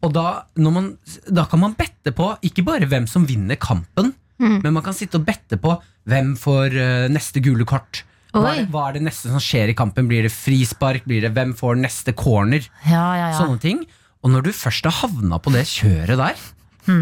[SPEAKER 4] Og da, når man, da kan man bette på ikke bare hvem som vinner kampen, men man kan sitte og bette på hvem får eh, neste gule kort. Hva er,
[SPEAKER 5] Oi.
[SPEAKER 4] det, hva er det neste som skjer i kampen? Blir det frispark? Blir det Hvem får neste corner?
[SPEAKER 3] Ja, ja, ja.
[SPEAKER 4] Sånne ting. Og når du først har havna på det kjøret der,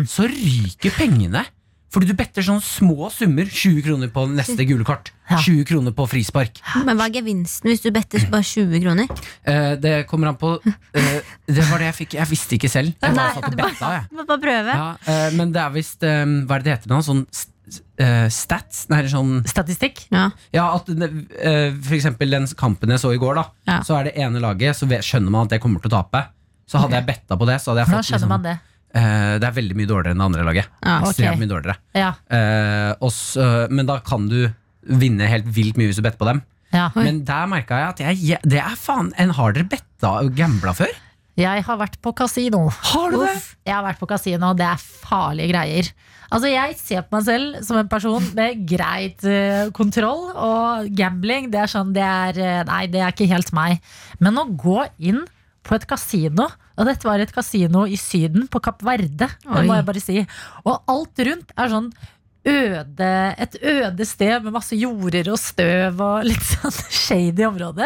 [SPEAKER 4] så ryker pengene. Fordi du better sånne små summer. 20 kroner på neste gule kart.
[SPEAKER 3] Ja.
[SPEAKER 4] 20 kroner på frispark.
[SPEAKER 5] Men hva er gevinsten hvis du better bare 20 kroner?
[SPEAKER 4] Eh, det kommer an på eh, Det var det jeg fikk. Jeg visste ikke selv. Jeg bare satt og betta, jeg.
[SPEAKER 5] Du må bare prøve.
[SPEAKER 4] Ja, eh, men det er visst eh, Hva er det det heter nå? Sånn st- eh, stats? Nei, sånn
[SPEAKER 3] Statistikk?
[SPEAKER 5] Ja.
[SPEAKER 4] Ja, at den- eh, for eksempel den kampen jeg så i går, da.
[SPEAKER 5] Ja.
[SPEAKER 4] Så er det ene laget, så vet- skjønner man at det kommer til å tape. Så hadde jeg betta på det, så hadde jeg
[SPEAKER 3] Da
[SPEAKER 4] fått liksom,
[SPEAKER 3] skjønner man det.
[SPEAKER 4] eh, Det er veldig mye dårligere enn det andre laget.
[SPEAKER 5] Ja,
[SPEAKER 3] ok.
[SPEAKER 4] Ekstremt mye dårligere.
[SPEAKER 3] Ja,
[SPEAKER 4] Eh, og så- men da kan du vinne helt vilt mye hvis du better på dem.
[SPEAKER 3] ja.
[SPEAKER 4] Men der merka jeg at jeg, det er faen en Har dere betta og gambla før?
[SPEAKER 3] Jeg har vært på kasino.
[SPEAKER 4] Har du det?
[SPEAKER 3] Uff, jeg har vært på kasino, og det er farlige greier. Altså, jeg ser på meg selv som en person med greit eh, kontroll, og gambling, det er sånn, det er eh, Nei, det er ikke helt meg. Men å gå inn på et kasino, og dette var et kasino i Syden, på Kapp Verde, det
[SPEAKER 5] Oi.
[SPEAKER 3] må jeg bare si, og alt rundt er sånn Øde, et øde sted med masse jorder og støv og litt sånn shady område.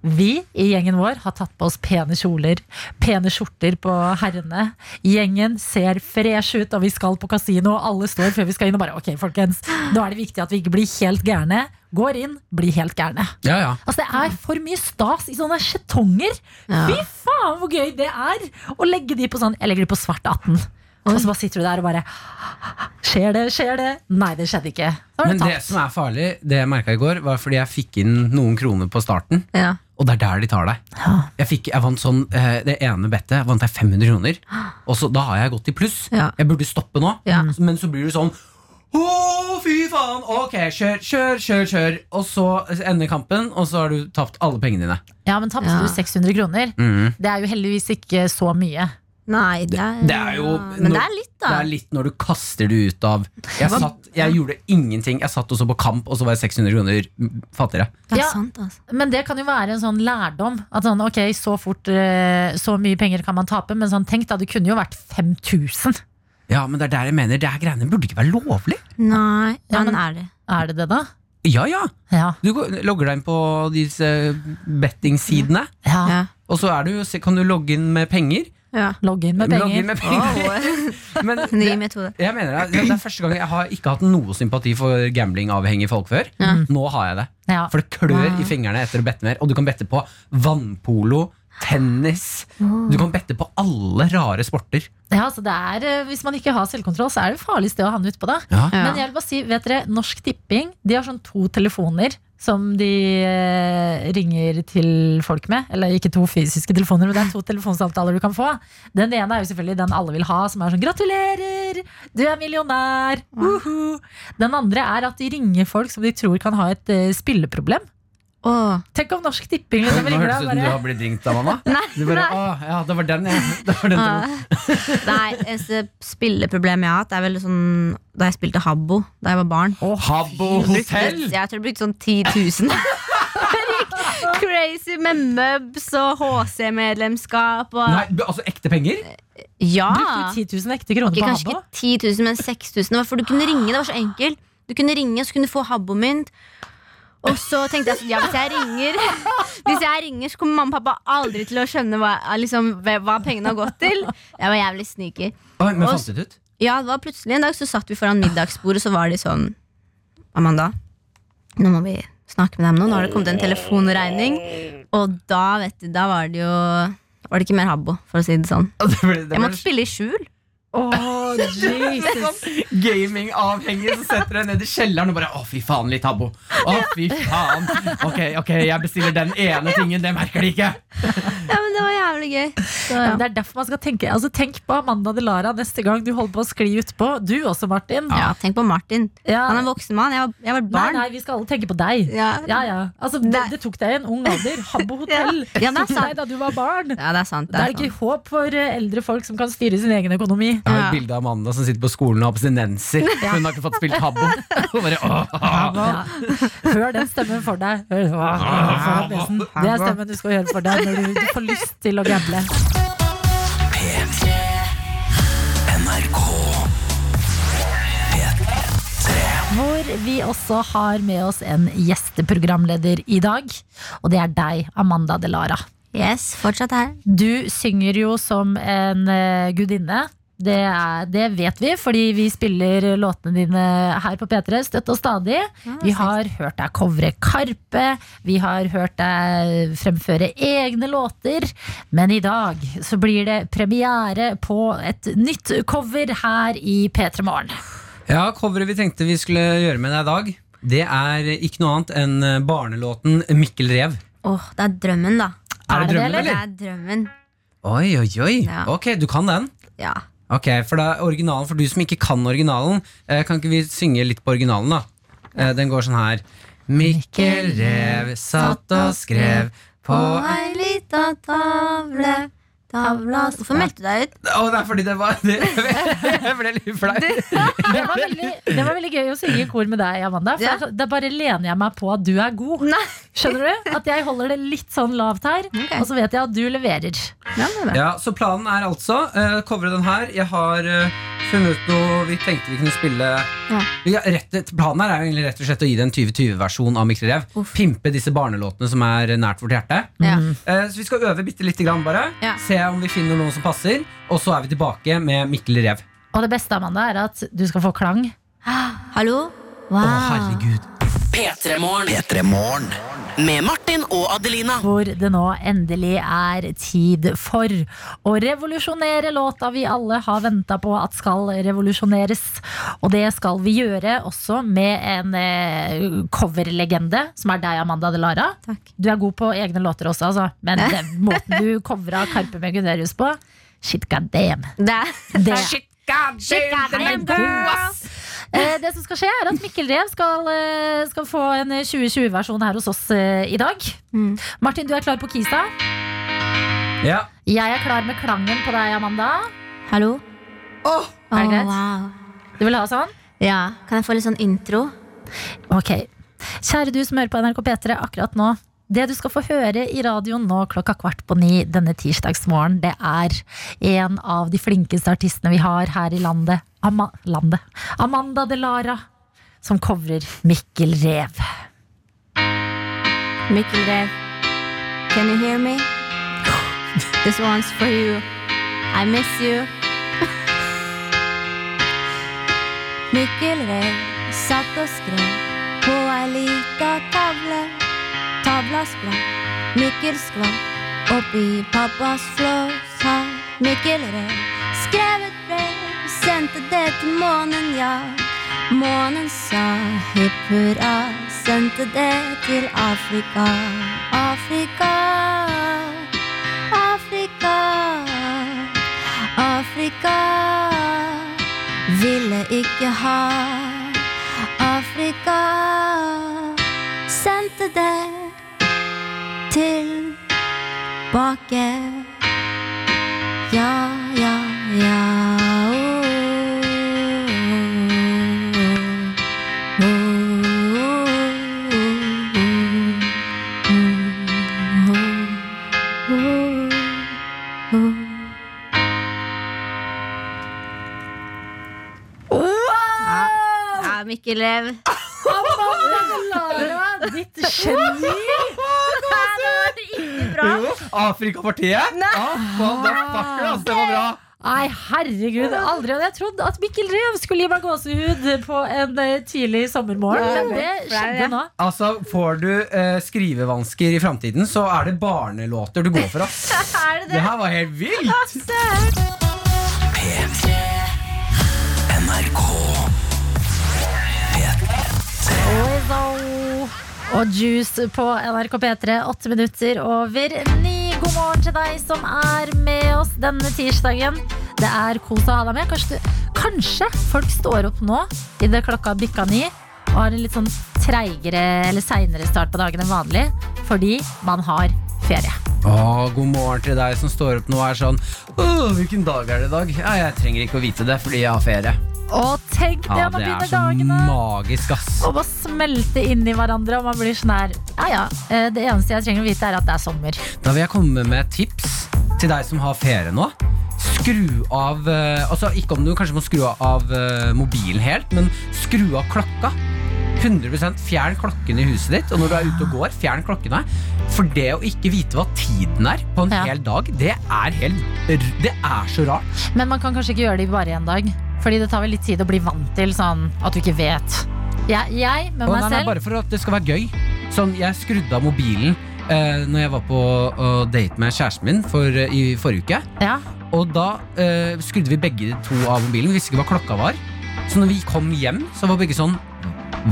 [SPEAKER 3] Vi i gjengen vår har tatt på oss pene kjoler, pene skjorter på herrene. Gjengen ser fresh ut, og vi skal på kasino, og alle står før vi skal inn og bare Ok, folkens, nå er det viktig at vi ikke blir helt gærne. Går inn, blir helt gærne.
[SPEAKER 4] Ja, ja.
[SPEAKER 3] Altså Det er for mye stas i sånne skjetonger.
[SPEAKER 5] Ja.
[SPEAKER 3] Fy faen, hvor gøy det er! Å legge de på sånn Jeg legger de på svart 18. Og så bare sitter du der og bare Skjer det, skjer det? Nei, det skjedde ikke. Da var
[SPEAKER 4] Men
[SPEAKER 3] det
[SPEAKER 4] det
[SPEAKER 3] tapt.
[SPEAKER 4] som er farlig, det jeg merka i går, var fordi jeg fikk inn noen kroner på starten.
[SPEAKER 5] Ja.
[SPEAKER 4] Og det er der de tar deg.
[SPEAKER 3] Ja.
[SPEAKER 4] Jeg, fikk, jeg vant sånn eh, Det ene bettet vant jeg 500 kroner. Og så, da har jeg gått i pluss.
[SPEAKER 5] Ja.
[SPEAKER 4] Jeg burde stoppe nå,
[SPEAKER 5] Ja.
[SPEAKER 4] men så blir du sånn Å, fy faen! Ok, kjør, kjør, kjør. kjør Og så ender kampen, og så har du tapt alle pengene dine.
[SPEAKER 3] Ja, men tapte
[SPEAKER 5] Ja.
[SPEAKER 3] du 600 kroner?
[SPEAKER 4] Mm.
[SPEAKER 3] Det er jo heldigvis ikke så mye.
[SPEAKER 5] Nei, det er,
[SPEAKER 4] Det er jo-
[SPEAKER 5] Men det er litt, da.
[SPEAKER 4] Det er litt når du kaster det ut av Jeg, satt, jeg gjorde ingenting. Jeg satt også på kamp, og så var jeg 600 kroner fattigere.
[SPEAKER 5] Det er
[SPEAKER 3] Ja.
[SPEAKER 5] sant, altså.
[SPEAKER 3] Men det kan jo være en sånn lærdom. At sånn, ok, så fort eh, Så mye penger kan man tape, men sånn, tenk da, det kunne jo vært 5000.
[SPEAKER 4] Ja, men det er der jeg mener det her greiene burde ikke være lovlig.
[SPEAKER 5] Nei,
[SPEAKER 3] Ja,
[SPEAKER 5] men
[SPEAKER 3] men-
[SPEAKER 5] er det.
[SPEAKER 3] Er det det, da?
[SPEAKER 4] Ja, ja.
[SPEAKER 3] Ja.
[SPEAKER 4] Du går, logger deg inn på disse eh, bettingsidene.
[SPEAKER 3] ja.
[SPEAKER 5] Ja.
[SPEAKER 4] Og så er du, se- kan du logge inn med penger.
[SPEAKER 5] ja.
[SPEAKER 3] Logg inn med
[SPEAKER 4] Logge
[SPEAKER 3] penger.
[SPEAKER 4] inn med penger. Men
[SPEAKER 5] Ny
[SPEAKER 4] det,
[SPEAKER 5] metode.
[SPEAKER 4] jeg mener det, det er første gang jeg har ikke hatt noe sympati for gamblingavhengige folk før. Nå har jeg det.
[SPEAKER 5] Ah.
[SPEAKER 3] Ja.
[SPEAKER 4] For det klør i fingrene etter å bette mer. Og du kan bette på vannpolo, tennis Du kan bette på alle rare sporter.
[SPEAKER 3] Ja, altså det er, eh, Hvis man ikke har selvkontroll, så er det farlig sted å havne utpå. da.
[SPEAKER 4] Ja.
[SPEAKER 5] Ja.
[SPEAKER 3] Men jeg vil bare si, vet dere, Norsk Tipping de har sånn to telefoner som de eh, ringer til folk med. Eller ikke to fysiske telefoner, men det er to telefonsamtaler du kan få. Den ene er jo selvfølgelig den alle vil ha, som er sånn 'gratulerer, du er millionær', uhu. Den andre er at de ringer folk som de tror kan ha et eh, spilleproblem.
[SPEAKER 5] Åh.
[SPEAKER 3] Tenk om Norsk Tipping
[SPEAKER 4] Nå
[SPEAKER 3] liksom ringer
[SPEAKER 4] hørtes
[SPEAKER 3] deg
[SPEAKER 4] det
[SPEAKER 3] og
[SPEAKER 4] ut som du
[SPEAKER 3] bare
[SPEAKER 4] har blitt ringt av mamma.
[SPEAKER 5] Nei,
[SPEAKER 4] Du bare,
[SPEAKER 5] nei. Ah.
[SPEAKER 4] «Å, ja, det var den, ja. Det var den telefonen.
[SPEAKER 5] Nei, eneste spilleproblem jeg har hatt, er vel sånn da jeg spilte Habbo da jeg var barn.
[SPEAKER 4] Habbo
[SPEAKER 5] Brukte-
[SPEAKER 4] hotell!
[SPEAKER 5] Jeg tror jeg brukte sånn 10 000. Crazy med møbs og HC-medlemskap og
[SPEAKER 4] Nei, altså ekte penger?
[SPEAKER 5] Ja!
[SPEAKER 3] Brukte du 10 000 ekte kroner
[SPEAKER 5] Ah. Ikke,
[SPEAKER 3] på
[SPEAKER 5] kanskje
[SPEAKER 3] Habbo?
[SPEAKER 5] ikke 10 000, men 6000. Det var For du kunne ringe, det var så enkelt. Du kunne ringe, så kunne du få Habbo-mynt. Og så tenkte jeg sånn, ja, hvis jeg ringer Hvis jeg ringer, så kommer mamma og pappa aldri til å skjønne hva, liksom, hva pengene har gått til. Jeg var jævlig sneaky.
[SPEAKER 4] Oi, men
[SPEAKER 5] Og-
[SPEAKER 4] fant du det ut?
[SPEAKER 5] Ja, det var plutselig en dag så satt vi foran middagsbordet, så var de sånn Amanda, nå må vi snakke med deg om noe. Nå har det kommet en telefonregning. Og da, vet du, da var det jo Var det ikke mer habbo, for å si det sånn.
[SPEAKER 4] Det ble, det
[SPEAKER 5] Jeg
[SPEAKER 4] ble
[SPEAKER 5] måtte spille i skjul.
[SPEAKER 3] Å, Jesus.
[SPEAKER 4] gamingavhengig som setter deg ned i kjelleren og bare Å, fy faen, litt habbo. Å, fy faen. Ok, ok, jeg bestiller den ene tingen, det merker de ikke.
[SPEAKER 5] Ja, men det var jævlig gøy. Så,
[SPEAKER 3] Ja.
[SPEAKER 5] ja.
[SPEAKER 3] Det er derfor man skal tenke altså, Tenk på Amanda Delara neste gang du holder på å skli utpå. Du også, Martin.
[SPEAKER 5] Ja, tenk på Martin.
[SPEAKER 3] Ja.
[SPEAKER 5] Han er en voksen mann. Jeg var, jeg var et
[SPEAKER 3] Nei,
[SPEAKER 5] barn.
[SPEAKER 3] nei, vi skal alle tenke på deg.
[SPEAKER 5] Ja.
[SPEAKER 3] Ja, ja. Altså, det,
[SPEAKER 5] Nei.
[SPEAKER 3] det tok deg i en ung alder. Habbo hotell.
[SPEAKER 5] Ja, det er
[SPEAKER 3] tok
[SPEAKER 5] sant.
[SPEAKER 3] deg da du var barn.
[SPEAKER 5] Ja, det er sant.
[SPEAKER 3] Det er
[SPEAKER 5] sant.
[SPEAKER 3] ikke håp for eh, eldre folk som kan styre sin egen økonomi.
[SPEAKER 4] Jeg har et
[SPEAKER 5] Ja.
[SPEAKER 4] bilde av Amanda som sitter på skolen og har abstinenser. Hun har ikke fått spilt habbo. Og bare, «Åh».
[SPEAKER 3] Ja. Hør den stemmen for deg. Hør, Åh, faen, Nesen. det er stemmen du skal høre for deg når du, du får lyst til å gamble.
[SPEAKER 6] P3 NRK
[SPEAKER 3] Hvor vi også har med oss en gjesteprogramleder i dag. Og det er deg, Amanda Delara.
[SPEAKER 5] Yes, fortsatt her.
[SPEAKER 3] Du synger jo som en eh, gudinne. Det, er, det vet vi, fordi vi spiller låtene dine her på P3 støtt og stadig. Vi har hørt deg covre Karpe, vi har hørt deg Eh, fremføre egne låter. Men i dag så blir det premiere på et nytt cover her i P3 Morgen.
[SPEAKER 4] Ja, coveret vi tenkte vi skulle gjøre med deg i dag, det er ikke noe annet enn eh, barnelåten Mikkel Rev.
[SPEAKER 5] Åh, det er drømmen, da.
[SPEAKER 4] Er
[SPEAKER 3] Er det det,
[SPEAKER 4] det drømmen,
[SPEAKER 5] Det
[SPEAKER 4] eller?
[SPEAKER 5] er drømmen.
[SPEAKER 4] Oi, oi, oi.
[SPEAKER 5] Ja.
[SPEAKER 4] Ok, du kan den.
[SPEAKER 5] Ja.
[SPEAKER 4] Ok, For da er originalen, for du som ikke kan originalen, eh, kan ikke vi synge litt på originalen, da? Eh, Den går sånn her. Mikkel Rev satt og skrev på Å,
[SPEAKER 5] ei lita tavle, tavla Hvorfor meldte du deg ut?
[SPEAKER 4] det er fordi det var det, Jeg ble litt flau.
[SPEAKER 3] Det var, veldig, det var veldig gøy å synge i kor med deg, Amanda. For altså,
[SPEAKER 5] Ja.
[SPEAKER 3] da- Da bare lener jeg meg på at du er god.
[SPEAKER 5] Nei.
[SPEAKER 3] Skjønner du? At jeg holder det litt sånn lavt her,
[SPEAKER 5] Ok.
[SPEAKER 3] og så vet jeg at du leverer.
[SPEAKER 5] Ja, det er bra.
[SPEAKER 4] Ja, Så planen er altså uh, covre den her. Jeg har eh, funnet ut noe vi tenkte vi kunne spille ja, rett, Planen her er jo egentlig rett og slett å gi det en 2020-versjon av Mikkel Rev.
[SPEAKER 5] Uff.
[SPEAKER 4] Pimpe disse barnelåtene som er nært vårt hjerte.
[SPEAKER 5] Ja.
[SPEAKER 4] Eh, så vi skal øve bitte lite grann, bare.
[SPEAKER 5] Ja.
[SPEAKER 4] Se om vi finner noen som passer. Og så er vi tilbake med Mikkel Rev.
[SPEAKER 3] Og det beste, Amanda, er at du skal få klang.
[SPEAKER 5] Hallo?
[SPEAKER 4] Å,
[SPEAKER 5] Wow.
[SPEAKER 4] herregud.
[SPEAKER 2] P3 Morgen
[SPEAKER 6] P3 Morgen.
[SPEAKER 2] med Martin og Adelina.
[SPEAKER 3] Hvor det nå endelig er tid for å revolusjonere låta vi alle har venta på at skal revolusjoneres. Og det skal vi gjøre også med en eh, coverlegende, som er deg, Amanda Delara.
[SPEAKER 5] Takk.
[SPEAKER 3] Du er god på egne låter også, altså. Men den måten du covra Karpe med Gunerius på Shit god damn.
[SPEAKER 5] Det er
[SPEAKER 3] Det er
[SPEAKER 5] Goddamn
[SPEAKER 3] god, ass. Eh, Det som skal skje er at Mikkel Rev skal, eh, skal få en 2020-versjon her hos oss eh, i dag.
[SPEAKER 5] Mm.
[SPEAKER 3] Martin, du er klar på Kisa.
[SPEAKER 4] Ja.
[SPEAKER 3] Jeg er klar med klangen på deg, Amanda.
[SPEAKER 5] Hallo?
[SPEAKER 3] Er det
[SPEAKER 5] Åh,
[SPEAKER 3] greit?
[SPEAKER 5] wow.
[SPEAKER 3] Du vil ha sånn?
[SPEAKER 5] Ja. Kan jeg få litt sånn intro?
[SPEAKER 3] Ok. Kjære du som hører på NRK P3 akkurat nå. Det du skal få høre i radioen nå klokka kvart på ni denne tirsdagsmorgen, det er en av de flinkeste artistene vi har her i landet. Ama landet. Amanda Delara, som covrer Mikkel Rev.
[SPEAKER 5] Mikkel Rev. Can you hear me? This one's for you. I miss you. Mikkel Rev satt og skrev på ei lita tavle. Tavla skvatt, Mikkel skvatt oppi pappas flås. Har Mikkel Rev skrevet brev, sendte det til månen, ja. Månen sa hipp hurra, sendte det til Afrika. Afrika, Afrika. Afrika ville ikke ha Afrika sendte det tilbake. Ja, ja, ja. Oh, oh, oh, oh, oh, oh, oh. Ja, Mikkel Rev.
[SPEAKER 3] Delara, ditt geni!
[SPEAKER 4] Jo, Afrikapartiet. Ah, motherfucker, ass, det var bra.
[SPEAKER 3] Nei, herregud, aldri hadde jeg trodd at Mikkel Rev skulle gi meg gåsehud på en eh, tidlig sommermorgen, men det skjedde nå.
[SPEAKER 4] Altså, Får du eh, skrivevansker i framtiden, så er det barnelåter du går for. ass. det, her var helt vilt!
[SPEAKER 6] P3 NRK P3
[SPEAKER 3] Lizzo og Juice på NRK P3, åtte minutter over ni. God morgen til deg som er med oss denne tirsdagen. Det er kos å ha deg med. Kanskje, du, kanskje folk står opp nå idet klokka har bikka ni og har en litt sånn treigere eller seinere start på dagen enn vanlig fordi man har ferie.
[SPEAKER 4] Å, god morgen til deg som står opp nå og er sånn Åh, Hvilken dag er det i dag? Ja, Jeg trenger ikke å vite det fordi jeg har ferie.
[SPEAKER 3] Og tenk det når man
[SPEAKER 4] Ja, Det er
[SPEAKER 3] begynner
[SPEAKER 4] så
[SPEAKER 3] dagene!
[SPEAKER 4] magisk, ass.
[SPEAKER 3] Og bare smelte inn i hverandre, og man blir sånn her Ja ja, eh, det eneste jeg trenger å vite, er at det er sommer.
[SPEAKER 4] Da vil jeg komme med et tips til deg som har ferie nå. Skru av eh, Altså, ikke om du kanskje må skru av eh, mobilen helt, men skru av klokka. 100 Fjern klokken i huset ditt, og når du er ute og går, fjern klokkene. For det å ikke vite hva tiden er på en
[SPEAKER 3] Ja.
[SPEAKER 4] hel dag, det er helt r- Det er så rart.
[SPEAKER 3] Men man kan kanskje ikke gjøre det i bare én dag. Fordi det tar vel litt tid å bli vant til sånn at du ikke vet. Jeg, jeg med
[SPEAKER 4] Og
[SPEAKER 3] meg
[SPEAKER 4] nei, nei,
[SPEAKER 3] selv
[SPEAKER 4] bare for at det skal være gøy. Sånn, jeg skrudde av mobilen eh, når jeg var på å date med kjæresten min for, eh, i forrige uke.
[SPEAKER 3] ja.
[SPEAKER 4] Og da eh, skrudde vi begge to av mobilen, vi visste ikke hva klokka var. Så når vi kom hjem, så var begge sånn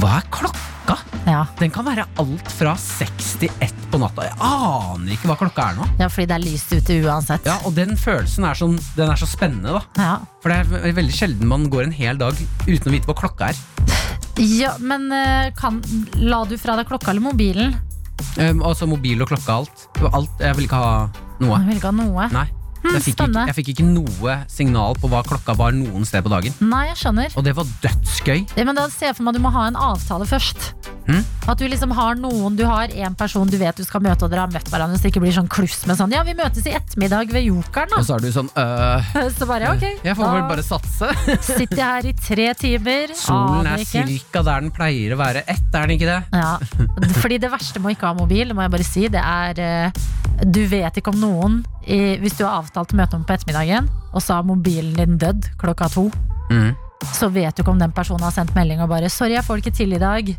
[SPEAKER 4] Hva er klokka?
[SPEAKER 3] Ja.
[SPEAKER 4] Den kan være alt fra seks til ett på natta. Jeg aner ikke hva klokka er nå.
[SPEAKER 3] ja, fordi det er lyst ute uansett.
[SPEAKER 4] Ja, Og den følelsen er, sånn, den er så spennende, da.
[SPEAKER 3] Ja.
[SPEAKER 4] For det er ve- veldig sjelden man går en hel dag uten å vite hva klokka er.
[SPEAKER 3] Ja, men eh, kan, la du fra deg klokka eller mobilen?
[SPEAKER 4] Um, altså mobil og klokka og alt. Det var alt. Jeg vil ikke ha noe.
[SPEAKER 3] Jeg vil ikke ha noe.
[SPEAKER 4] Nei.
[SPEAKER 3] Hmm,
[SPEAKER 4] Jeg fikk, ikke,
[SPEAKER 3] spennende.
[SPEAKER 4] jeg fikk ikke noe signal på hva klokka var noen sted på dagen.
[SPEAKER 3] Nei, jeg skjønner.
[SPEAKER 4] Og det var dødsgøy.
[SPEAKER 3] Ja, men da ser jeg for meg at du må ha en avtale først.
[SPEAKER 4] Mm.
[SPEAKER 3] At du liksom har noen Du har en person du vet du skal møte, og dere har møtt hverandre, så det ikke blir sånn kluss med sånn Ja, vi møtes i ettermiddag ved
[SPEAKER 4] Og
[SPEAKER 3] Jokeren,
[SPEAKER 4] så er du sånn øh,
[SPEAKER 3] da. Så bare ok.
[SPEAKER 4] Jeg får vel
[SPEAKER 3] da
[SPEAKER 4] bare satse.
[SPEAKER 3] sitter jeg her i tre timer.
[SPEAKER 4] Solen
[SPEAKER 3] aner
[SPEAKER 4] er
[SPEAKER 3] ikke.
[SPEAKER 4] cirka der den pleier å være. Ett, er den ikke det?
[SPEAKER 3] Ja, fordi det verste med å ikke ha mobil, det må jeg bare si, det er eh, Du vet ikke om noen i, Hvis du har avtalt å møte noen på ettermiddagen, og så har mobilen din dødd klokka to,
[SPEAKER 4] Mhm.
[SPEAKER 3] så vet du ikke om den personen har sendt melding og bare 'Sorry, jeg får det ikke til i dag'.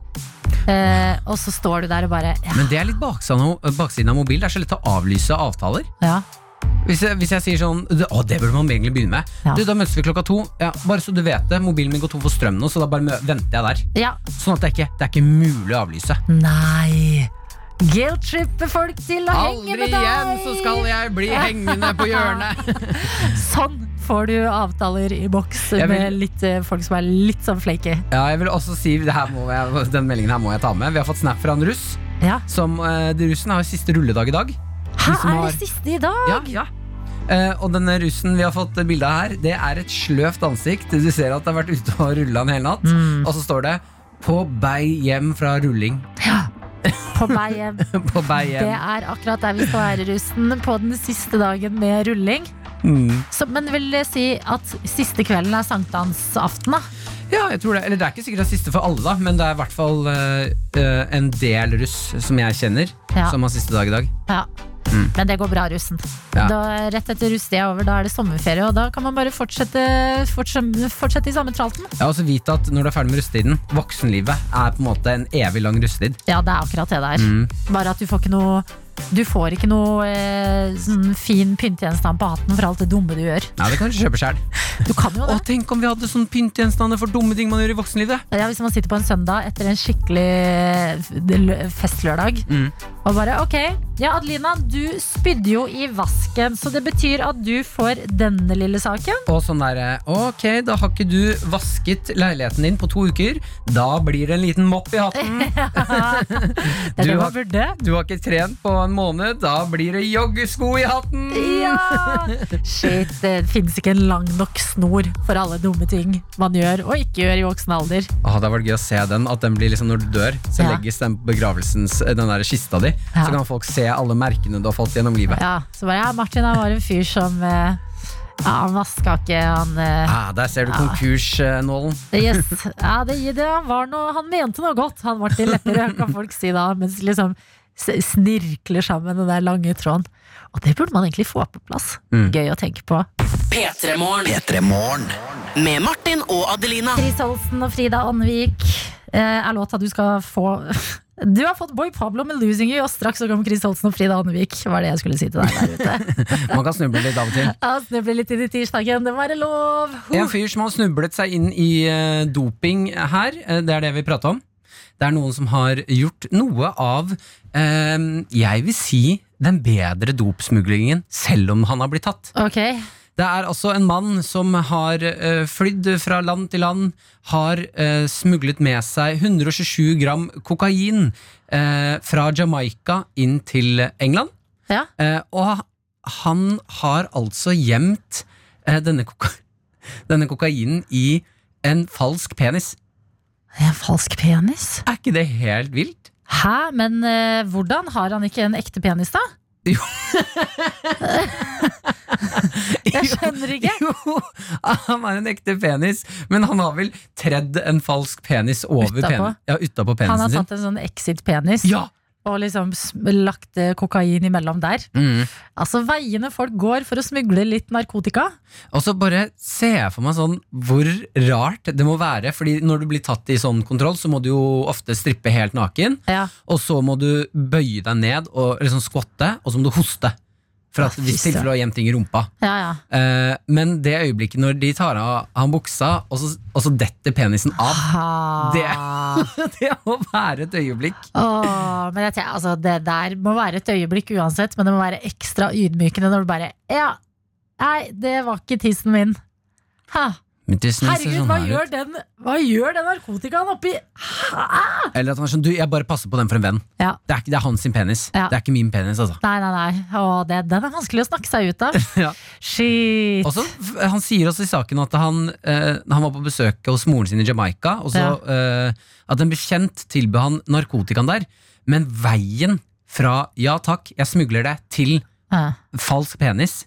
[SPEAKER 3] Eh, og så står du der og bare Ja.
[SPEAKER 4] Men det er litt baksiden av, baksiden av mobil. Det er så lett å avlyse avtaler.
[SPEAKER 3] ja.
[SPEAKER 4] Hvis jeg, hvis jeg sier sånn det- Å, det burde man egentlig begynne med.
[SPEAKER 3] Ja.
[SPEAKER 4] Du, da møtes vi klokka to. Ja, bare så du vet det, mobilen min går tom for strøm nå, så da bare mø- venter jeg der.
[SPEAKER 3] ja.
[SPEAKER 4] Sånn at det er ikke, det er ikke mulig å avlyse.
[SPEAKER 3] Nei. Guilt-trippe folk til å henge med deg!
[SPEAKER 4] jeg bli hengende på hjørnet!
[SPEAKER 3] Sånn får du avtaler i boks
[SPEAKER 4] Jeg vil-
[SPEAKER 3] med litt, eh, folk som er litt sånn flaky.
[SPEAKER 4] Ja, jeg vil også si det her må jeg, Den meldingen her må jeg ta med. Vi har fått snap fra en russ.
[SPEAKER 3] Ja.
[SPEAKER 4] Som, eh, de russen har jo siste rulledag i dag.
[SPEAKER 3] Hæ,
[SPEAKER 4] som
[SPEAKER 3] er
[SPEAKER 4] har-
[SPEAKER 3] det siste i dag?
[SPEAKER 4] Ja, ja. Eh, og denne russen vi har fått bilde av her, det er et sløvt ansikt. Du ser at det har vært ute og rulla en hel natt.
[SPEAKER 3] Mm.
[SPEAKER 4] Og så står det 'På bei hjem fra rulling'.
[SPEAKER 3] På vei hjem.
[SPEAKER 4] På bei hjem.
[SPEAKER 3] Det er akkurat der vi skal være, russen, på den siste dagen med rulling.
[SPEAKER 4] Mm.
[SPEAKER 3] Så, men vil det si at siste kvelden er sankthansaften, da?
[SPEAKER 4] Ja, jeg tror det. Eller det er ikke sikkert det er siste for alle, da, men det er i hvert fall eh, eh, en del russ som jeg kjenner,
[SPEAKER 3] Ja.
[SPEAKER 4] som har siste dag i dag.
[SPEAKER 3] Ja. Men det går bra, russen.
[SPEAKER 4] Ja.
[SPEAKER 3] Da, rett etter russetida er over, da er det sommerferie, og da kan man bare fortsette, fortsette, fortsette i samme tralten.
[SPEAKER 4] Jeg har også vite at når du er ferdig med russetiden, voksenlivet er på en måte en evig lang russetid.
[SPEAKER 3] Ja, det er akkurat det det er.
[SPEAKER 4] Mm.
[SPEAKER 3] Bare at du får ikke noe du får ikke noe eh, sånn fin pyntegjenstand på hatten for alt det dumme du gjør.
[SPEAKER 4] Ja, det kan du kjøpe sjæl.
[SPEAKER 3] Du kan jo
[SPEAKER 4] Å,
[SPEAKER 3] det.
[SPEAKER 4] tenk om vi hadde sånn pyntegjenstander for dumme ting man gjør i voksenlivet!
[SPEAKER 3] Ja, Hvis man sitter på en søndag etter en skikkelig eh, f- festlørdag
[SPEAKER 4] Mm.
[SPEAKER 3] og bare OK, ja Adelina, du spydde jo i vasken, så det betyr at du får denne lille saken.
[SPEAKER 4] Og sånn derre Ok, da har ikke du vasket leiligheten din på to uker. Da blir det en liten mopp i hatten.
[SPEAKER 3] Det er
[SPEAKER 4] Du
[SPEAKER 3] det
[SPEAKER 4] har-
[SPEAKER 3] man burde.
[SPEAKER 4] Du har ikke trent på en måned. Da blir det joggesko i hatten.
[SPEAKER 3] Ja! Shit, det fins ikke en lang nok snor for alle dumme ting man gjør og ikke gjør i voksen alder.
[SPEAKER 4] Åh, det hadde vært gøy å se den. At den blir liksom Når du dør, så
[SPEAKER 3] Ja.
[SPEAKER 4] legges den på begravelsens eh, Den der kista di.
[SPEAKER 3] Ja.
[SPEAKER 4] Så kan folk se alle merkene du har fått gjennom livet.
[SPEAKER 3] Ja, så bare ja, Martin han var en fyr som eh, ja, han vaska ikke, han eh,
[SPEAKER 4] Ah, der ser du konkursnålen.
[SPEAKER 3] Yes. Ja, det, det var noe, han mente noe godt, han Martin Lepperød, kan folk si da, mens liksom s- snirkler sammen den der lange tråden. Og det burde man egentlig få på plass.
[SPEAKER 4] Mm.
[SPEAKER 3] Gøy å tenke på.
[SPEAKER 2] P3 Morgen.
[SPEAKER 6] P3 Morgen.
[SPEAKER 2] Med Martin og Adelina.
[SPEAKER 3] Chris Olsen og Frida Andvik eh, er låta du skal få Du har fått Boy Pablo med 'Losing You', og straks så kommer Chris Olsen og Frida Andvik. Var det jeg skulle si til deg der ute.
[SPEAKER 4] Man kan snuble litt av og til.
[SPEAKER 3] Ja, Snuble litt inn i tirsdagen, det må være lov!
[SPEAKER 4] En fyr som har snublet seg inn i eh, doping her, eh, det er det vi prater om. Det er noen som har gjort noe av, eh, jeg vil si, den bedre dopsmuglingen, selv om han har blitt tatt.
[SPEAKER 3] Ok,
[SPEAKER 4] Det er altså en mann som har eh, flydd fra land til land, har eh, smuglet med seg 127 gram kokain eh, fra Jamaica inn til England.
[SPEAKER 3] ja.
[SPEAKER 4] Eh, og han har altså gjemt eh, denne, koka denne kokainen i en falsk penis.
[SPEAKER 3] En falsk penis?
[SPEAKER 4] Er ikke det helt vilt?
[SPEAKER 3] Hæ, men eh, hvordan? Har han ikke en ekte penis, da?
[SPEAKER 4] Jo.
[SPEAKER 3] Jeg skjønner ikke.
[SPEAKER 4] Jo, han er en ekte penis, men han har vel tredd en falsk penis over
[SPEAKER 3] Utapå.
[SPEAKER 4] penis. Ja, utapå
[SPEAKER 3] Han har
[SPEAKER 4] penisen sin.
[SPEAKER 3] tatt en sånn exit-penis
[SPEAKER 4] Ja!
[SPEAKER 3] og liksom sm- lagt eh, kokain imellom der.
[SPEAKER 4] Mm.
[SPEAKER 3] Altså Veiene folk går for å smugle litt narkotika.
[SPEAKER 4] Og så bare ser jeg for meg sånn hvor rart det må være. Fordi når du blir tatt i sånn kontroll, så må du jo ofte strippe helt naken.
[SPEAKER 3] Ja.
[SPEAKER 4] Og så må du bøye deg ned og liksom skvatte, og så må du hoste. For at
[SPEAKER 3] Ja, fy
[SPEAKER 4] hvis tilfelle du har gjemt ting i rumpa.
[SPEAKER 3] Ja, ja.
[SPEAKER 4] Eh, men det øyeblikket når de tar av han buksa, og så, og så detter penisen av
[SPEAKER 3] Ha.
[SPEAKER 4] Det, det må være et øyeblikk.
[SPEAKER 3] Åh, men jeg tenker, altså, det der må være et øyeblikk uansett, men det må være ekstra ydmykende når du bare Ja, nei, det var ikke tissen min. Ha.
[SPEAKER 4] sånn
[SPEAKER 3] Herregud, hva gjør, den, hva gjør den narkotikaen oppi Hæ?
[SPEAKER 4] Eller at han er sånn, du, jeg bare passer på den for en venn.
[SPEAKER 3] Ja.
[SPEAKER 4] Det er, ikke, det er hans sin penis.
[SPEAKER 3] Ja.
[SPEAKER 4] Det er ikke min penis, altså.
[SPEAKER 3] Nei, nei, nei. Åh, det, den er vanskelig å snakke seg ut av.
[SPEAKER 4] Ja.
[SPEAKER 3] Shit.
[SPEAKER 4] Også, f- han sier også i saken at han, eh, han var på besøk hos moren sin i Jamaica, og så, eh, at en bekjent tilbød han narkotikaen der, men veien fra ja takk, jeg smugler det, til
[SPEAKER 3] Ja.
[SPEAKER 4] falsk penis,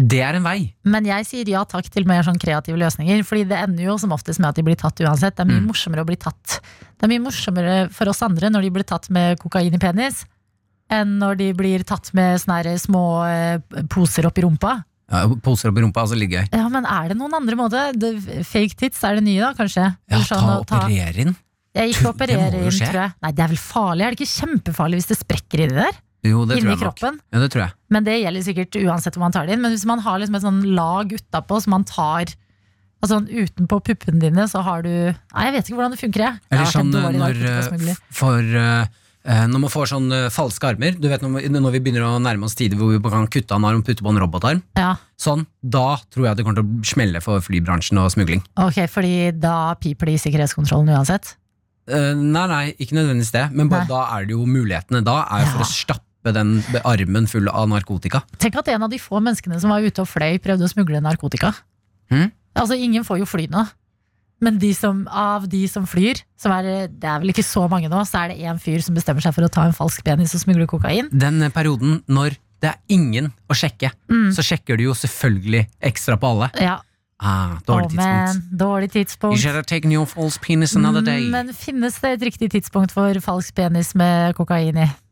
[SPEAKER 4] det er en vei.
[SPEAKER 3] Men jeg sier ja takk til mer sånn kreative løsninger, Fordi det ender jo som oftest med at de blir tatt uansett. Det er mye morsommere å bli tatt. Det er mye morsommere for oss andre når de blir tatt med kokain i penis, enn når de blir tatt med sånne her små eh, poser oppi rumpa.
[SPEAKER 4] Ja, poser opp i rumpa, altså ligger jeg.
[SPEAKER 3] Ja, men er det noen andre måte? Det- Fake tits er det nye, da, kanskje?
[SPEAKER 4] Ja,
[SPEAKER 3] Eller
[SPEAKER 4] ta
[SPEAKER 3] sånn å
[SPEAKER 4] og operer inn.
[SPEAKER 3] Jeg gikk og
[SPEAKER 4] Det må
[SPEAKER 3] opererer
[SPEAKER 4] jo
[SPEAKER 3] inn,
[SPEAKER 4] skje.
[SPEAKER 3] tror jeg. Nei, det er vel farlig? Er det ikke kjempefarlig hvis det sprekker inni der?
[SPEAKER 4] Jo, det tror
[SPEAKER 3] Inni
[SPEAKER 4] jeg nok.
[SPEAKER 3] kroppen?
[SPEAKER 4] Ja, det tror jeg.
[SPEAKER 3] Men det gjelder sikkert uansett hvor man tar det inn. Men hvis man har liksom et sånn lag utapå som man tar Altså sånn Utenpå puppene dine, så har du Nei, jeg vet ikke hvordan det funker, jeg. jeg.
[SPEAKER 4] Eller
[SPEAKER 3] har vært en
[SPEAKER 4] sånn eh,
[SPEAKER 3] dårlig
[SPEAKER 4] når, eh,
[SPEAKER 3] narkotikasmugler.
[SPEAKER 4] f- for, eh, eh, når man får sånn eh, falske armer Du vet når, vi- når vi begynner å nærme oss tider hvor vi kan kutte av en arm og putte på en robotarm
[SPEAKER 3] Ja,
[SPEAKER 4] Sånn, da tror jeg det kommer til å smelle for flybransjen og smugling
[SPEAKER 3] ok, fordi da piper det i sikkerhetskontrollen uansett.
[SPEAKER 4] Eh, Nei, nei, ikke nødvendigvis det Men
[SPEAKER 3] Nei.
[SPEAKER 4] bare da er det jo mulighetene Da er jo for
[SPEAKER 3] Ja.
[SPEAKER 4] å stappe den be- armen full av narkotika
[SPEAKER 3] Tenk at en av de få menneskene som var ute og fløy, prøvde å smugle narkotika.
[SPEAKER 4] Mhm.
[SPEAKER 3] Altså, ingen får jo fly nå. Men de som, av de som flyr, som er, det er vel ikke så mange nå, så er det én fyr som bestemmer seg for å ta en falsk penis og smugle kokain.
[SPEAKER 4] Den eh, perioden når det er ingen å sjekke
[SPEAKER 3] Mm.
[SPEAKER 4] Så sjekker du jo selvfølgelig ekstra på alle
[SPEAKER 3] Ja,
[SPEAKER 4] ah, Dårlig
[SPEAKER 3] å, men,
[SPEAKER 4] tidspunkt
[SPEAKER 3] dårlig tidspunkt.
[SPEAKER 4] You should have taken your false penis another day
[SPEAKER 3] Men finnes det et riktig tidspunkt for falsk penis med kokain i?